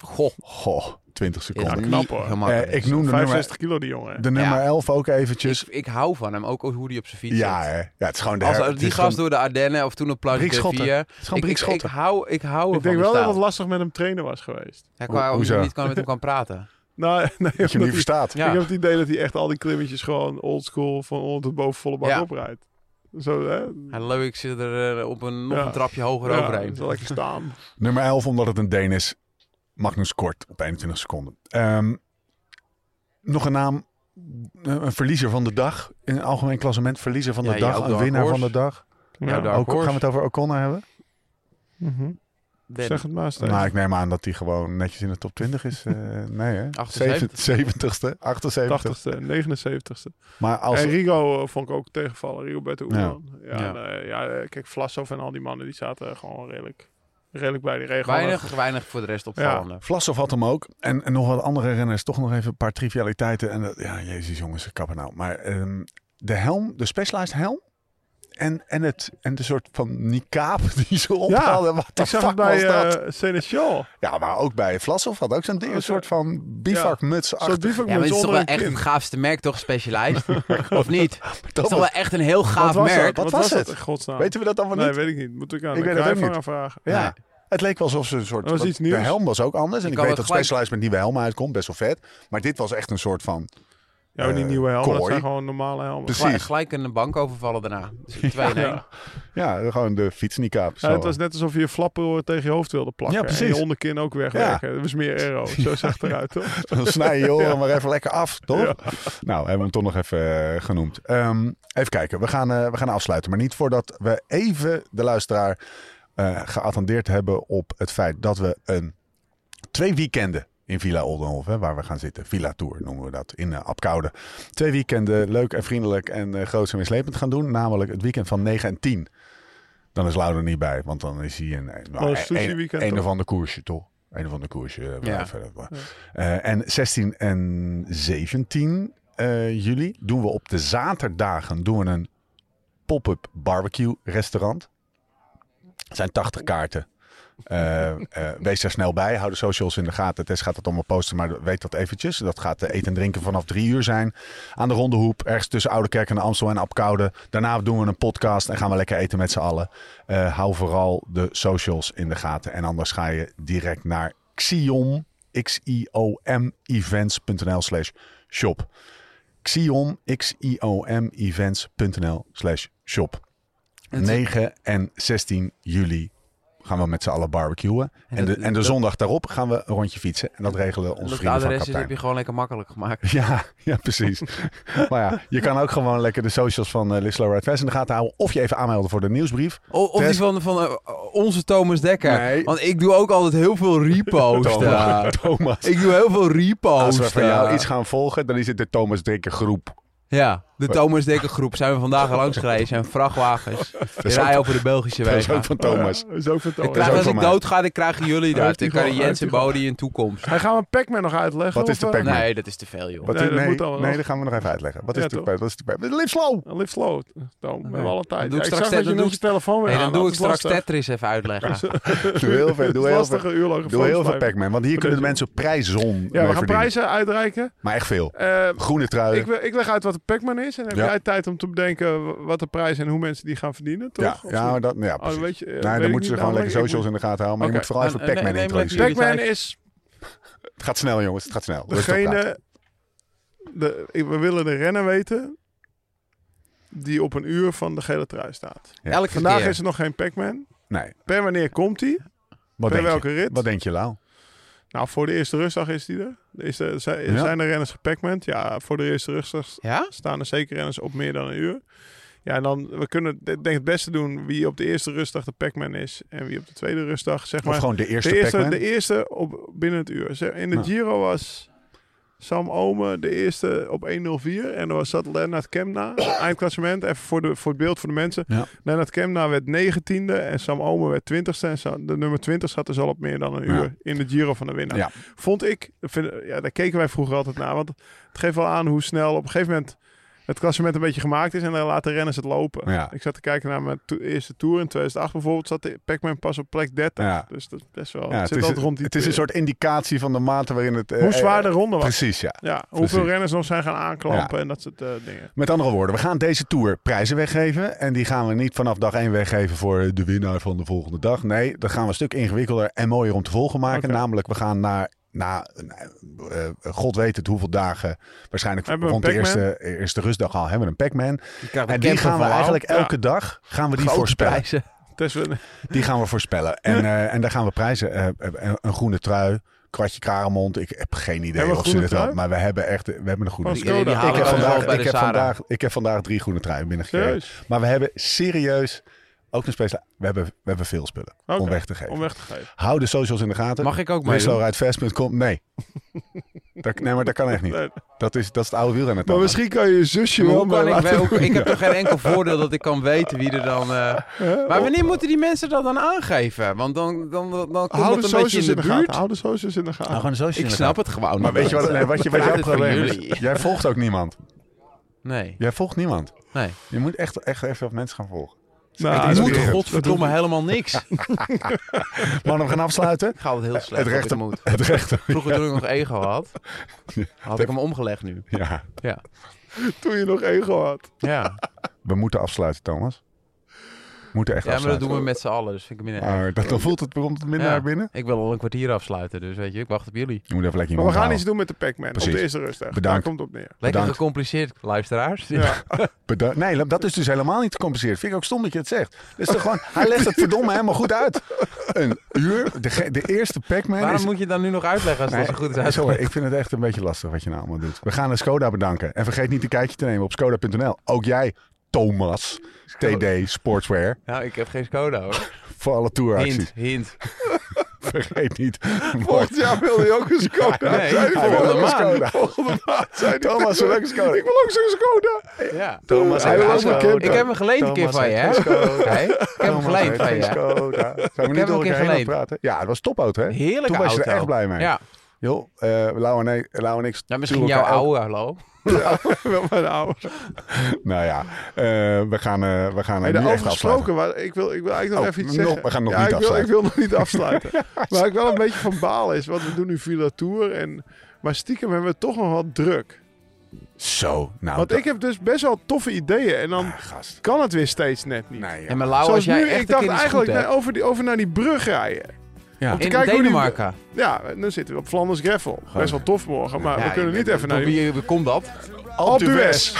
Speaker 4: eh, goh,
Speaker 1: goh. 20
Speaker 4: Ja,
Speaker 1: seconden.
Speaker 3: Oh, knap, hoor.
Speaker 1: Eh, ik noemde nummer,
Speaker 3: 65 kilo die jongen. hè?
Speaker 1: de nummer
Speaker 4: Ja.
Speaker 1: 11 ook eventjes.
Speaker 4: ik, ik hou van hem, ook hoe hij op zijn fiets
Speaker 1: ja,
Speaker 4: zit.
Speaker 1: hè. ja, het is gewoon de
Speaker 4: Als,
Speaker 1: her-
Speaker 4: als
Speaker 1: het
Speaker 4: die
Speaker 1: is
Speaker 4: gast
Speaker 1: gewoon
Speaker 4: door de Ardennen of toen op Plank
Speaker 1: Briek
Speaker 4: de
Speaker 1: Schotten.
Speaker 4: Vier.
Speaker 1: Het is gewoon
Speaker 4: Ik,
Speaker 1: Briek
Speaker 4: ik, ik
Speaker 1: Schotten.
Speaker 4: hou, ik hou
Speaker 3: Ik denk
Speaker 4: ervan
Speaker 3: wel
Speaker 4: die
Speaker 3: dat het
Speaker 4: stijl.
Speaker 3: lastig met hem trainen was geweest.
Speaker 4: Ja,
Speaker 1: Ho-
Speaker 4: qua hoe
Speaker 1: hoezo?
Speaker 4: je niet kan met hem kan
Speaker 3: [laughs]
Speaker 4: praten.
Speaker 3: Nou, nee,
Speaker 1: dat je hem
Speaker 3: omdat
Speaker 1: niet
Speaker 3: hij-
Speaker 1: verstaat.
Speaker 4: Ja.
Speaker 3: Ik heb het idee dat hij echt al die klimmetjes gewoon oldschool van onder tot boven volle bak
Speaker 4: Ja.
Speaker 3: oprijdt. Zo, hè?
Speaker 4: Hij leuk, ik zit er eh, op een, nog
Speaker 3: Ja.
Speaker 4: een trapje hoger
Speaker 3: Ja,
Speaker 4: overheen.
Speaker 3: zal lekker
Speaker 4: [laughs]
Speaker 3: staan.
Speaker 1: Nummer 11, omdat het een Deen is. Magnus Kort op 21 seconden. Ehm, nog een naam. Een verliezer van de dag. In het algemeen klassement verliezer van de
Speaker 4: Ja, je
Speaker 1: dag.
Speaker 4: oude
Speaker 1: Een
Speaker 4: dark
Speaker 1: winnaar van
Speaker 4: horse.
Speaker 1: de dag.
Speaker 4: Ja, Nou, daar
Speaker 1: Ook, gaan we het over O'Connor hebben?
Speaker 3: Mhm.
Speaker 4: Den.
Speaker 3: Zeg het maar, Stijn.
Speaker 1: Nou, ik neem aan dat hij gewoon netjes in de top 20 is. Eh, nee hè?
Speaker 4: 78.
Speaker 1: 70ste, 78
Speaker 3: 80ste, 79ste.
Speaker 1: Maar als...
Speaker 3: En Rigo eh, vond ik ook tegenvallen. Rigo Berto
Speaker 1: Ja.
Speaker 3: ja. Ja,
Speaker 4: Ja.
Speaker 3: nee, ja, eh, kijk, Vlasov en al die mannen, die zaten gewoon redelijk, redelijk bij die regel.
Speaker 4: Weinig, weinig voor de rest opvallende.
Speaker 1: Vlasov had hem ook. En, en nog wat andere renners. Toch nog even een paar trivialiteiten. En dat- ja, jezus jongens, kappen nou. Maar ehm, de helm, de Specialized helm. En, en, het, en de soort van niqab [laughs] die ze ophaalden. Wat de
Speaker 3: Ik zag
Speaker 1: fuck
Speaker 3: het bij
Speaker 1: was dat?
Speaker 3: eh Seneschal.
Speaker 1: ja, maar ook bij Vlasov had ook zo'n ding. Een soort van bivakmuts
Speaker 3: Zo'n
Speaker 1: achter.
Speaker 3: bivak
Speaker 4: Ja, maar het is toch
Speaker 3: onder
Speaker 4: wel
Speaker 3: een
Speaker 4: echt
Speaker 3: kin.
Speaker 4: het gaafste merk, toch? Specialized?
Speaker 1: [laughs]
Speaker 4: of niet? Het is toch wel echt een heel
Speaker 3: Wat
Speaker 4: gaaf
Speaker 3: was dat?
Speaker 4: merk.
Speaker 1: Wat
Speaker 3: Wat
Speaker 1: was
Speaker 3: was
Speaker 1: het?
Speaker 3: dat? in godsnaam?
Speaker 1: Weten we dat dan wel
Speaker 3: Nee,
Speaker 1: niet?
Speaker 3: weet ik niet. Moet ik aan
Speaker 1: Ik
Speaker 3: de
Speaker 1: weet het ook
Speaker 3: kruivanger vragen.
Speaker 1: ja.
Speaker 4: Nee.
Speaker 1: Het leek wel alsof ze een soort...
Speaker 3: Dat was
Speaker 1: want
Speaker 3: iets nieuws.
Speaker 1: De helm was ook anders. En
Speaker 4: Je
Speaker 1: ik,
Speaker 4: kan
Speaker 1: weet
Speaker 4: wel
Speaker 1: dat
Speaker 4: gelijk-
Speaker 1: Specialized met nieuwe helmen uitkomt. Best wel vet. Maar dit was echt een soort van...
Speaker 3: Ja, maar die
Speaker 1: Eh, Dus-
Speaker 3: nieuwe helmen, dat
Speaker 1: kooi.
Speaker 3: zijn gewoon normale helmen.
Speaker 1: Precies.
Speaker 4: Gelijk- gelijk een bank overvallen daarna. Dus 2 in één.
Speaker 3: Ja.
Speaker 1: Ja, gewoon de fietsniqab.
Speaker 3: Ja, het was net alsof je je flappen tegen je hoofd wilde plakken.
Speaker 1: Ja,
Speaker 3: En
Speaker 1: precies.
Speaker 3: je onderkin ook wegwerken. Dat was meer aero. Zo zag het eruit, toch?
Speaker 1: Dan snij je je oren
Speaker 3: Ja.
Speaker 1: maar even lekker af, toch?
Speaker 3: Ja.
Speaker 1: Nou, hebben we hem toch nog even eh, genoemd. Ehm, even kijken, we gaan, eh, we gaan afsluiten. Maar niet voordat we even de luisteraar eh, geattendeerd hebben op het feit dat we een twee weekenden in Villa Oldenhof, hè, waar we gaan zitten. Villa Tour noemen we dat, in eh, Apkoude. Twee weekenden leuk en vriendelijk en eh groots en mislepend gaan doen. Namelijk het weekend van 9 en 10. Dan is Louder niet bij, want dan is hij een, eh,
Speaker 3: een sushi
Speaker 1: een,
Speaker 3: weekend,
Speaker 1: een
Speaker 3: toch?
Speaker 1: of ander koersje, toch? Een of ander koersje. eh,
Speaker 4: Ja.
Speaker 1: even, eh, eh, en 16 en 17 eh, juli doen we op de zaterdagen doen we een pop-up barbecue restaurant. Het zijn 80 kaarten. Eh, eh, wees daar snel bij. Hou de socials in de gaten. Tess gaat dat allemaal posten, maar weet dat eventjes. Dat gaat eh, eten en drinken vanaf drie uur zijn. Aan de Ronde Hoep, ergens tussen Oude Kerk en Amstel en Apkoude. Daarna doen we een podcast en gaan we lekker eten met z'n allen. Eh, hou vooral de socials in de gaten. En anders ga je direct naar Xiom, X-I-O-M, events.nl slash shop. Xiom, X-I-O-M, events.nl slash shop. 9 en 16 juli gaan we met z'n allen barbecuen. En,
Speaker 4: En dat-
Speaker 1: de, en de
Speaker 4: dat-
Speaker 1: zondag daarop gaan we een rondje fietsen. En dat regelen onze
Speaker 4: Dat
Speaker 1: vrienden van
Speaker 4: adres is, heb
Speaker 1: kapitein.
Speaker 4: je gewoon lekker makkelijk
Speaker 1: [laughs]
Speaker 4: gemaakt.
Speaker 1: Ja, ja,
Speaker 3: [laughs]
Speaker 1: precies. maar ja, je kan ook gewoon lekker de socials van eh Lislo Red Fest in de gaten houden. Of je even aanmelden voor de nieuwsbrief.
Speaker 4: O- of
Speaker 1: Tess-
Speaker 4: die van, van eh, onze Thomas Dekker.
Speaker 1: Nee.
Speaker 4: Want ik doe ook altijd heel veel
Speaker 3: [laughs]
Speaker 4: reposten.
Speaker 1: eh, Thomas.
Speaker 4: ik doe heel veel
Speaker 1: Als we
Speaker 4: reposten.
Speaker 1: van jou iets gaan volgen, dan is het de Thomas Drikker groep.
Speaker 4: Ja, de Thomas Dekker groep. Zijn we vandaag al langs gereden. Zijn vrachtwagens. Die
Speaker 1: is
Speaker 4: rijden
Speaker 1: ook-
Speaker 4: over de Belgische
Speaker 1: Dat is
Speaker 4: wegen.
Speaker 1: ook van [laughs] Thomas.
Speaker 3: Ja, zo vertoon.
Speaker 4: Ik krijg,
Speaker 1: ook
Speaker 4: als
Speaker 1: van
Speaker 4: ik
Speaker 1: mij.
Speaker 4: doodga, dan krijgen jullie
Speaker 3: Hij
Speaker 4: dat.
Speaker 3: heeft
Speaker 4: Dan
Speaker 3: die
Speaker 4: kan
Speaker 3: gewoon,
Speaker 4: Jens en
Speaker 3: hij heeft die
Speaker 4: Bodie in toekomst.
Speaker 3: Hij gaan we Pac-Man nog uitleggen.
Speaker 1: Wat is
Speaker 3: of,
Speaker 1: de
Speaker 3: eh,
Speaker 1: Pac-Man?
Speaker 4: Nee, dat is te veel, joh.
Speaker 1: Wat
Speaker 3: Nee,
Speaker 1: is-
Speaker 3: dat moet allemaal
Speaker 1: nee,
Speaker 3: nog.
Speaker 1: dat gaan we nog even uitleggen. Wat is
Speaker 3: Ja,
Speaker 1: de
Speaker 3: toch?
Speaker 1: Pac- Wat is de Pac- Live
Speaker 3: [laughs]
Speaker 1: slow!
Speaker 3: Live slow, Toon. We hebben alle tijd.
Speaker 4: doe
Speaker 3: Ja, ik
Speaker 4: ik straks
Speaker 3: zag dat
Speaker 4: te-
Speaker 3: je
Speaker 4: dan
Speaker 3: nog je telefoon weer
Speaker 4: Nee,
Speaker 3: aan
Speaker 4: dan doe
Speaker 3: had. eh,
Speaker 4: ik
Speaker 3: Dat is
Speaker 4: straks
Speaker 3: lastig.
Speaker 4: Tetris even [laughs] uitleggen.
Speaker 1: Doe heel veel, doe heel
Speaker 3: lastige
Speaker 1: veel,
Speaker 3: uur lang
Speaker 1: doe heel veel
Speaker 3: gefotoslijpen.
Speaker 1: Pac-Man. Want hier
Speaker 3: Voor
Speaker 1: kunnen de
Speaker 3: deze-
Speaker 1: mensen prijzen om mee
Speaker 3: Ja, we gaan
Speaker 1: verdienen.
Speaker 3: prijzen uitreiken.
Speaker 1: Maar echt veel.
Speaker 3: Eh,
Speaker 1: Groene trui.
Speaker 3: ik, wil- ik leg uit wat de Pac-Man is. En heb
Speaker 1: Ja.
Speaker 3: jij tijd om te bedenken wat de prijs en hoe mensen die gaan verdienen, toch?
Speaker 1: ja,
Speaker 3: Of
Speaker 1: ja,
Speaker 3: niet?
Speaker 1: maar dat, ja, precies.
Speaker 3: weet je, eh,
Speaker 1: Nee,
Speaker 3: weet
Speaker 1: dan
Speaker 3: ik
Speaker 1: moeten ze
Speaker 3: niet
Speaker 1: gewoon lekker
Speaker 3: namelijk. Ik
Speaker 1: socials in de gaten houden. Maar je
Speaker 3: Oké.
Speaker 1: moet vooral even
Speaker 4: Nou, nee,
Speaker 1: Pac-Man
Speaker 4: nee, maar
Speaker 1: introduceren.
Speaker 4: jullie
Speaker 3: Pac-Man
Speaker 4: zijn-
Speaker 3: is
Speaker 1: Het gaat snel, jongens. Het gaat snel. Rustig praten.
Speaker 3: degene... De, ik- we willen de renner weten die op een uur van de gele trui staat.
Speaker 1: Ja.
Speaker 4: Elke
Speaker 3: Vandaag
Speaker 4: keer.
Speaker 3: is er nog geen Pac-Man.
Speaker 1: Nee.
Speaker 3: Per wanneer komt hij?
Speaker 1: Wat
Speaker 3: Per
Speaker 1: denk
Speaker 3: welke
Speaker 1: je?
Speaker 3: rit?
Speaker 1: Wat denk je, Lau?
Speaker 3: Nou, voor de eerste rustdag is die er. Is er zijn,
Speaker 1: Ja.
Speaker 3: zijn er renners gepackment? Ja, voor de eerste rustdag
Speaker 4: Ja?
Speaker 3: staan er zeker renners op meer dan een uur. Ja, en dan we kunnen ik denk het beste doen wie op de eerste rustdag de Pac-Man is en wie op de tweede rustdag, zeg
Speaker 1: Of
Speaker 3: maar.
Speaker 1: gewoon de eerste,
Speaker 3: de, eerste,
Speaker 1: Pac-Man? Nou.
Speaker 3: de eerste op binnen het uur. Zeg, In de
Speaker 1: Ja.
Speaker 3: Giro was Sam Ome de eerste op 1.04 en er was zat Lennart
Speaker 1: [coughs]
Speaker 3: Kemna. Eindklassement, even voor, de, voor het beeld voor de mensen.
Speaker 1: Ja.
Speaker 3: Lennart Kemna werd 19e en Sam Ome werd 20e. En Sa- de nummer 20 zat dus al op meer dan een
Speaker 1: Ja.
Speaker 3: uur in de Giro van de winnaar.
Speaker 1: Ja.
Speaker 3: Vond ik, vind, ja, daar keken wij vroeger altijd naar. Want het geeft wel aan hoe snel op een gegeven moment het klassement een beetje gemaakt is en dan laten renners het lopen.
Speaker 1: Ja.
Speaker 3: Ik zat te kijken naar mijn to- eerste tour in 2008 bijvoorbeeld, zat de Pac-Man pas op plek 30.
Speaker 1: Ja.
Speaker 3: Dus dat is best wel,
Speaker 1: Ja,
Speaker 3: het
Speaker 1: het,
Speaker 3: zit
Speaker 1: is,
Speaker 3: altijd rond die
Speaker 1: het is een soort indicatie van de mate waarin het... eh,
Speaker 3: Hoe zwaar de
Speaker 1: eh,
Speaker 3: ronde was.
Speaker 1: Precies, ja.
Speaker 3: Ja, hoeveel
Speaker 1: Precies.
Speaker 3: renners nog zijn gaan aanklampen en dat soort eh, dingen.
Speaker 1: Met andere woorden, we gaan deze tour prijzen weggeven. En die gaan we niet vanaf dag 1 weggeven voor de winnaar van de volgende dag. Nee, dat gaan we een stuk ingewikkelder en mooier om te volgen maken.
Speaker 3: Oké.
Speaker 1: Namelijk, we gaan naar, na, eh, eh, god weet het hoeveel dagen, waarschijnlijk
Speaker 3: Hebben we
Speaker 1: rond de
Speaker 3: een
Speaker 1: eerste, eerste rustdag al, hebben we een Pac-Man.
Speaker 4: Je krijgt
Speaker 1: En die gaan we eigenlijk elke dag gaan we die voorspellen.
Speaker 3: Dus we,
Speaker 1: Die gaan we voorspellen.
Speaker 3: [laughs]
Speaker 1: En, eh, en daar gaan we prijzen. Eh, eh, een, een groene trui, kwartje karemond. Ik heb geen idee
Speaker 3: Hebben we
Speaker 1: of ze
Speaker 3: groene
Speaker 1: dit wel.
Speaker 3: trui?
Speaker 1: Maar we hebben echt we hebben een groene
Speaker 3: Van
Speaker 1: trui.
Speaker 3: Skoda.
Speaker 1: Ik heb, vandaag,
Speaker 4: bij
Speaker 1: ik,
Speaker 4: de
Speaker 1: heb
Speaker 4: Zara.
Speaker 1: vandaag, ik heb vandaag drie groene truien binnengekregen.
Speaker 3: serieus,
Speaker 1: Maar we hebben serieus ook een speciale... We hebben, we hebben veel spullen
Speaker 3: Oké,
Speaker 1: om weg te geven.
Speaker 3: om weg te geven.
Speaker 1: Hou de socials in de gaten.
Speaker 4: Mag ik ook mee?
Speaker 1: Wisselrijdvest.com.
Speaker 3: [laughs]
Speaker 1: Nee. dat, nee, maar dat kan echt niet.
Speaker 3: Nee.
Speaker 1: Dat is, dat is het oude wielrennen.
Speaker 3: Maar misschien kan je je zusje wel
Speaker 4: Hoe kan
Speaker 3: mee
Speaker 4: ik,
Speaker 3: laten-
Speaker 4: wel- ik heb toch geen enkel voordeel dat ik kan weten wie er dan... eh, Maar wanneer moeten die mensen dat dan aangeven? Want dan, dan, dan, dan
Speaker 3: [laughs]
Speaker 4: komt
Speaker 3: Hou
Speaker 4: het
Speaker 3: de
Speaker 4: een beetje
Speaker 3: socials
Speaker 4: in de
Speaker 3: gaten.
Speaker 4: buurt. Nou,
Speaker 3: Hou de socials in Nou, de gaten.
Speaker 1: de socials
Speaker 4: Ik snap het gewoon.
Speaker 1: Maar
Speaker 4: niet.
Speaker 1: weet je wat, nee, wat, je, wat
Speaker 4: Vraag
Speaker 1: jouw
Speaker 4: dit van
Speaker 1: probleem is?
Speaker 4: jullie.
Speaker 1: Jij volgt ook niemand.
Speaker 4: Nee,
Speaker 1: Jij volgt niemand.
Speaker 4: nee.
Speaker 1: Je moet echt, echt even wat mensen gaan volgen.
Speaker 3: Nou,
Speaker 1: Ah,
Speaker 4: ik
Speaker 1: dat
Speaker 4: moet
Speaker 1: doe ik.
Speaker 4: godverdomme helemaal niks. [laughs] Ik
Speaker 1: Mannen, we gaan
Speaker 4: [laughs]
Speaker 1: afsluiten.
Speaker 4: ga het heel slecht
Speaker 1: Het
Speaker 4: wat ik
Speaker 1: rechter-
Speaker 4: moet.
Speaker 1: Het rechter.
Speaker 4: Vroeger toen ik nog ego had, had ik hem omgelegd nu.
Speaker 1: Ja,
Speaker 4: Ja.
Speaker 3: [laughs] Toen je nog ego had.
Speaker 4: Ja.
Speaker 1: we moeten afsluiten, Thomas. We moeten echt
Speaker 4: Ja, maar dat
Speaker 1: afsluiten.
Speaker 4: doen we met z'n allen, dus vind ik minder erg.
Speaker 1: Maar dat, dan voelt het, komt het minder
Speaker 4: Ja.
Speaker 1: naar binnen.
Speaker 4: Ik wil al een kwartier afsluiten, dus weet je, ik wacht op jullie.
Speaker 1: Je moet even lekker
Speaker 3: Maar we
Speaker 1: iemand
Speaker 3: gaan
Speaker 4: nou.
Speaker 1: halen.
Speaker 3: iets doen met de Pac-Man. Op
Speaker 1: Precies.
Speaker 3: de eerste rustdag.
Speaker 1: Bedankt.
Speaker 3: Daar komt het op neer.
Speaker 4: Lekker
Speaker 1: Bedankt.
Speaker 4: gecompliceerd, luisteraars. [laughs]
Speaker 3: Ja.
Speaker 1: Beda- Nee, dat is dus helemaal niet te compenseren. Vind ik ook stom dat je het zegt. Dus toch
Speaker 4: [laughs]
Speaker 1: gewoon, hij legt het verdomme helemaal goed uit. Een uur, de, ge- de eerste Pac-Man
Speaker 4: Waarom
Speaker 1: is...
Speaker 4: moet je het dan nu nog uitleggen als
Speaker 1: Nee,
Speaker 4: het al zo goed is
Speaker 1: sorry,
Speaker 4: uitgelegd?
Speaker 1: ik vind het echt een beetje lastig wat je nou allemaal doet. We gaan de Skoda bedanken. En vergeet niet een kijkje te nemen op skoda.nl. Ook jij, Thomas, TD Sportswear,
Speaker 4: Nou, ik heb geen Skoda hoor.
Speaker 1: voor alle
Speaker 4: Hint,
Speaker 1: touracties.
Speaker 4: hint.
Speaker 1: Vergeet
Speaker 3: [laughs]
Speaker 1: niet.
Speaker 3: Volgend jaar wil je ook een Skoda.
Speaker 4: Nee,
Speaker 3: Zei die
Speaker 1: Hij wil
Speaker 3: volgende
Speaker 1: ook een
Speaker 3: maand.
Speaker 1: Skoda.
Speaker 3: Volgende maand zei die
Speaker 1: Thomas wil ook een Skoda.
Speaker 3: Ik wil ook zo'n Skoda.
Speaker 4: Ja.
Speaker 1: Thomas
Speaker 3: Hij
Speaker 1: heeft
Speaker 3: wil
Speaker 1: een
Speaker 3: ook een
Speaker 1: Skoda.
Speaker 3: kind.
Speaker 4: Ik heb hem geleend een keer
Speaker 1: Thomas
Speaker 4: van je, hè?
Speaker 1: heeft een Skoda.
Speaker 4: Hé, Ik heb hem
Speaker 1: Thomas
Speaker 4: geleend
Speaker 1: heeft
Speaker 4: van
Speaker 1: een
Speaker 4: je. [laughs]
Speaker 1: Skoda. Zijn we
Speaker 4: hem
Speaker 1: niet
Speaker 4: een
Speaker 1: door elkaar
Speaker 4: keer
Speaker 1: heen aan het
Speaker 4: geleend.
Speaker 1: praten? Ja, het was topauto, hè?
Speaker 4: Heerlijke
Speaker 1: Toen was je er
Speaker 4: auto.
Speaker 1: echt blij mee.
Speaker 4: Ja.
Speaker 1: Joh, eh Lau en ik... Lau en ik
Speaker 4: Nou, misschien
Speaker 1: sturen
Speaker 4: jouw
Speaker 1: elkaar elke-
Speaker 4: oude, hallo.
Speaker 3: [laughs] Wel mijn oude.
Speaker 1: Nou ja, eh, we gaan, eh we gaan
Speaker 3: Hey,
Speaker 1: eh, nu echt
Speaker 3: daarover
Speaker 1: afsluiten.
Speaker 3: gesproken, maar ik wil, ik wil eigenlijk nog
Speaker 1: Oh,
Speaker 3: even iets
Speaker 1: nog-
Speaker 3: zeggen.
Speaker 1: we gaan nog
Speaker 3: ja,
Speaker 1: niet
Speaker 3: ik wil, ik
Speaker 1: afsluiten.
Speaker 3: wil nog niet
Speaker 1: [laughs]
Speaker 3: afsluiten. Waar ik wel een beetje van baal is, want we doen nu Villa Tour. En, maar stiekem hebben we toch nog wat druk.
Speaker 1: Zo, nou...
Speaker 3: Want
Speaker 1: Oh, dat-
Speaker 3: ik heb dus best wel toffe ideeën. En dan
Speaker 1: Ah, gast.
Speaker 3: kan het weer steeds net niet.
Speaker 1: Nee, joh.
Speaker 4: En maar Lau, als
Speaker 3: Zoals
Speaker 4: jij
Speaker 3: nu,
Speaker 4: echt
Speaker 3: ik
Speaker 4: een
Speaker 3: dacht
Speaker 4: keer iets goed
Speaker 3: eigenlijk
Speaker 4: hebt.
Speaker 3: naar- over, die, over naar die brug rijden.
Speaker 1: Ja.
Speaker 3: te
Speaker 4: In
Speaker 3: kijken hoe die-
Speaker 4: Denemarken.
Speaker 3: Ja, dan zitten we op Flanders Greffel. Best wel tof morgen, maar we
Speaker 4: Ja,
Speaker 3: kunnen
Speaker 4: ik-
Speaker 3: niet even naar
Speaker 4: door
Speaker 3: die...
Speaker 4: Wie wie komt dat?
Speaker 3: Alpe
Speaker 1: d'Huez. [laughs]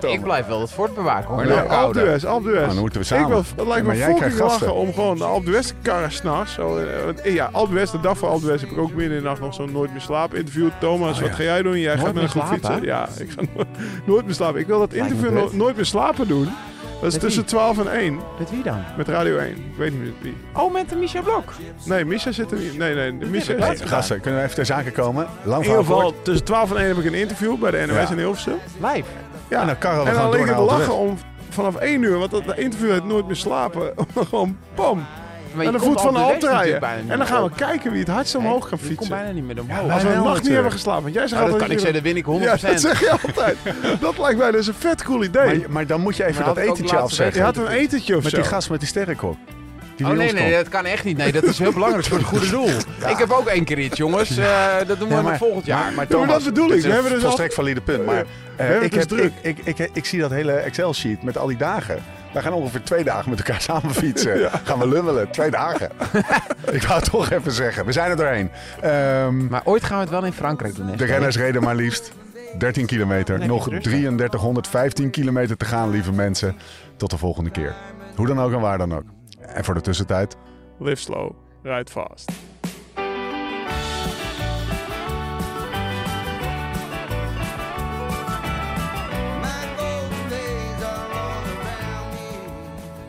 Speaker 3: d'Huez.
Speaker 4: Ik blijf wel het fort bewaken hoor.
Speaker 1: Ja,
Speaker 4: Nou,
Speaker 3: Alpe
Speaker 4: koude.
Speaker 3: d'Huez, Alpe d'Huez.
Speaker 1: Nou, dan moeten we
Speaker 3: Ik wil,
Speaker 1: samen.
Speaker 3: het lijkt
Speaker 1: maar
Speaker 3: me
Speaker 1: jij
Speaker 3: fucking
Speaker 1: krijgt gasten.
Speaker 3: lachen om gewoon de Alpe d'Huez te karren s'nachts. Zo, eh, want, eh, ja, Alpe d'Huez, de dag voor Alpe d'Huez heb ik ook midden in de nacht nog zo'n Nooit meer slapen interview. Thomas, wat
Speaker 1: Oh, ja.
Speaker 3: ga jij doen? Jij gaat met
Speaker 4: meer
Speaker 3: een groep
Speaker 4: slapen?
Speaker 3: fietsen. Ja, ik ga no- [laughs] Nooit meer slapen. Ik wil dat
Speaker 4: Lijkt me
Speaker 3: interview no-
Speaker 4: kut.
Speaker 3: Nooit meer slapen doen. Dat is
Speaker 4: Met
Speaker 3: tussen
Speaker 4: wie?
Speaker 3: 12 en 1
Speaker 4: Met wie dan?
Speaker 3: met Radio 1. Ik weet niet met wie.
Speaker 4: Oh, met de Michel Blok.
Speaker 3: Nee, Misha zit er niet. Nee, nee, Misha
Speaker 4: dat
Speaker 3: zit
Speaker 1: Hey, gasten, kunnen we even ter zake komen? Lang
Speaker 3: In ieder
Speaker 1: verhaal kort.
Speaker 3: geval, tussen 12 en 1 heb ik een interview bij de NOS
Speaker 1: Ja.
Speaker 3: in Hilversum.
Speaker 4: Live.
Speaker 3: Ja,
Speaker 1: En dan karren we
Speaker 3: en
Speaker 1: gewoon
Speaker 3: dan
Speaker 1: door
Speaker 3: leek
Speaker 1: naar
Speaker 3: het
Speaker 1: Alpe
Speaker 3: lachen om vanaf 1 uur, want dat de interview had nooit meer slapen. [laughs] gewoon bam,
Speaker 4: Maar je
Speaker 3: aan de
Speaker 4: komt
Speaker 3: voet van de
Speaker 4: Alpe
Speaker 3: Alp
Speaker 4: d'Huez natuurlijk
Speaker 3: rijden.
Speaker 4: bijna niet
Speaker 3: En dan
Speaker 4: meer
Speaker 3: gaan we
Speaker 4: omhoog.
Speaker 3: kijken wie het hardst omhoog kan
Speaker 4: Je komt
Speaker 3: fietsen.
Speaker 4: bijna niet meer omhoog.
Speaker 1: wij
Speaker 3: Als we
Speaker 1: wel
Speaker 3: een nacht niet
Speaker 1: natuurlijk.
Speaker 3: hebben geslapen, want jij zegt
Speaker 4: Nou, dat
Speaker 3: altijd...
Speaker 4: kan ik zeggen, dat win ik 100%.
Speaker 3: Ja, dat zeg je altijd. dat lijkt mij dus een vet cool idee.
Speaker 1: Maar, maar dan moet je even dat
Speaker 4: Maar had ik ook
Speaker 1: etentje
Speaker 4: laatst
Speaker 1: afzeggen.
Speaker 3: je had een etentje of
Speaker 1: Met
Speaker 3: zo.
Speaker 1: die gast met die sterrenkop. Die
Speaker 4: Oh
Speaker 1: bij
Speaker 4: nee,
Speaker 1: ons
Speaker 4: nee,
Speaker 1: komt.
Speaker 4: dat kan echt niet. Nee, dat is heel belangrijk voor het goede doel. Ik heb ook één keer iets, jongens. Eh, dat doen we
Speaker 1: Ja,
Speaker 4: maar, volgend jaar.
Speaker 1: Maar, maar
Speaker 3: Ja, maar
Speaker 1: Thomas,
Speaker 3: dat bedoel
Speaker 1: dit
Speaker 3: ik.
Speaker 1: is
Speaker 3: We hebben
Speaker 1: een
Speaker 3: dus al-
Speaker 1: volstrekt valide punt. Maar eh,
Speaker 3: hebben
Speaker 1: ik,
Speaker 3: het
Speaker 1: heb,
Speaker 3: dus druk.
Speaker 1: Ik, ik, ik, ik zie dat hele Excel-sheet met al die dagen. Wij gaan ongeveer twee dagen met elkaar [laughs] samen fietsen. Gaan we lummelen. Twee [laughs] dagen. ik wou het toch even zeggen. We zijn er doorheen. Ehm,
Speaker 4: Maar ooit gaan we het wel in Frankrijk doen. hè?
Speaker 1: de renners reden maar liefst 13 kilometer. Nog 3315 kilometer te gaan, lieve mensen. Tot de volgende keer. Hoe dan ook en waar dan ook. En voor de tussentijd...
Speaker 3: Live slow, ride fast.
Speaker 2: My golden days are all around me.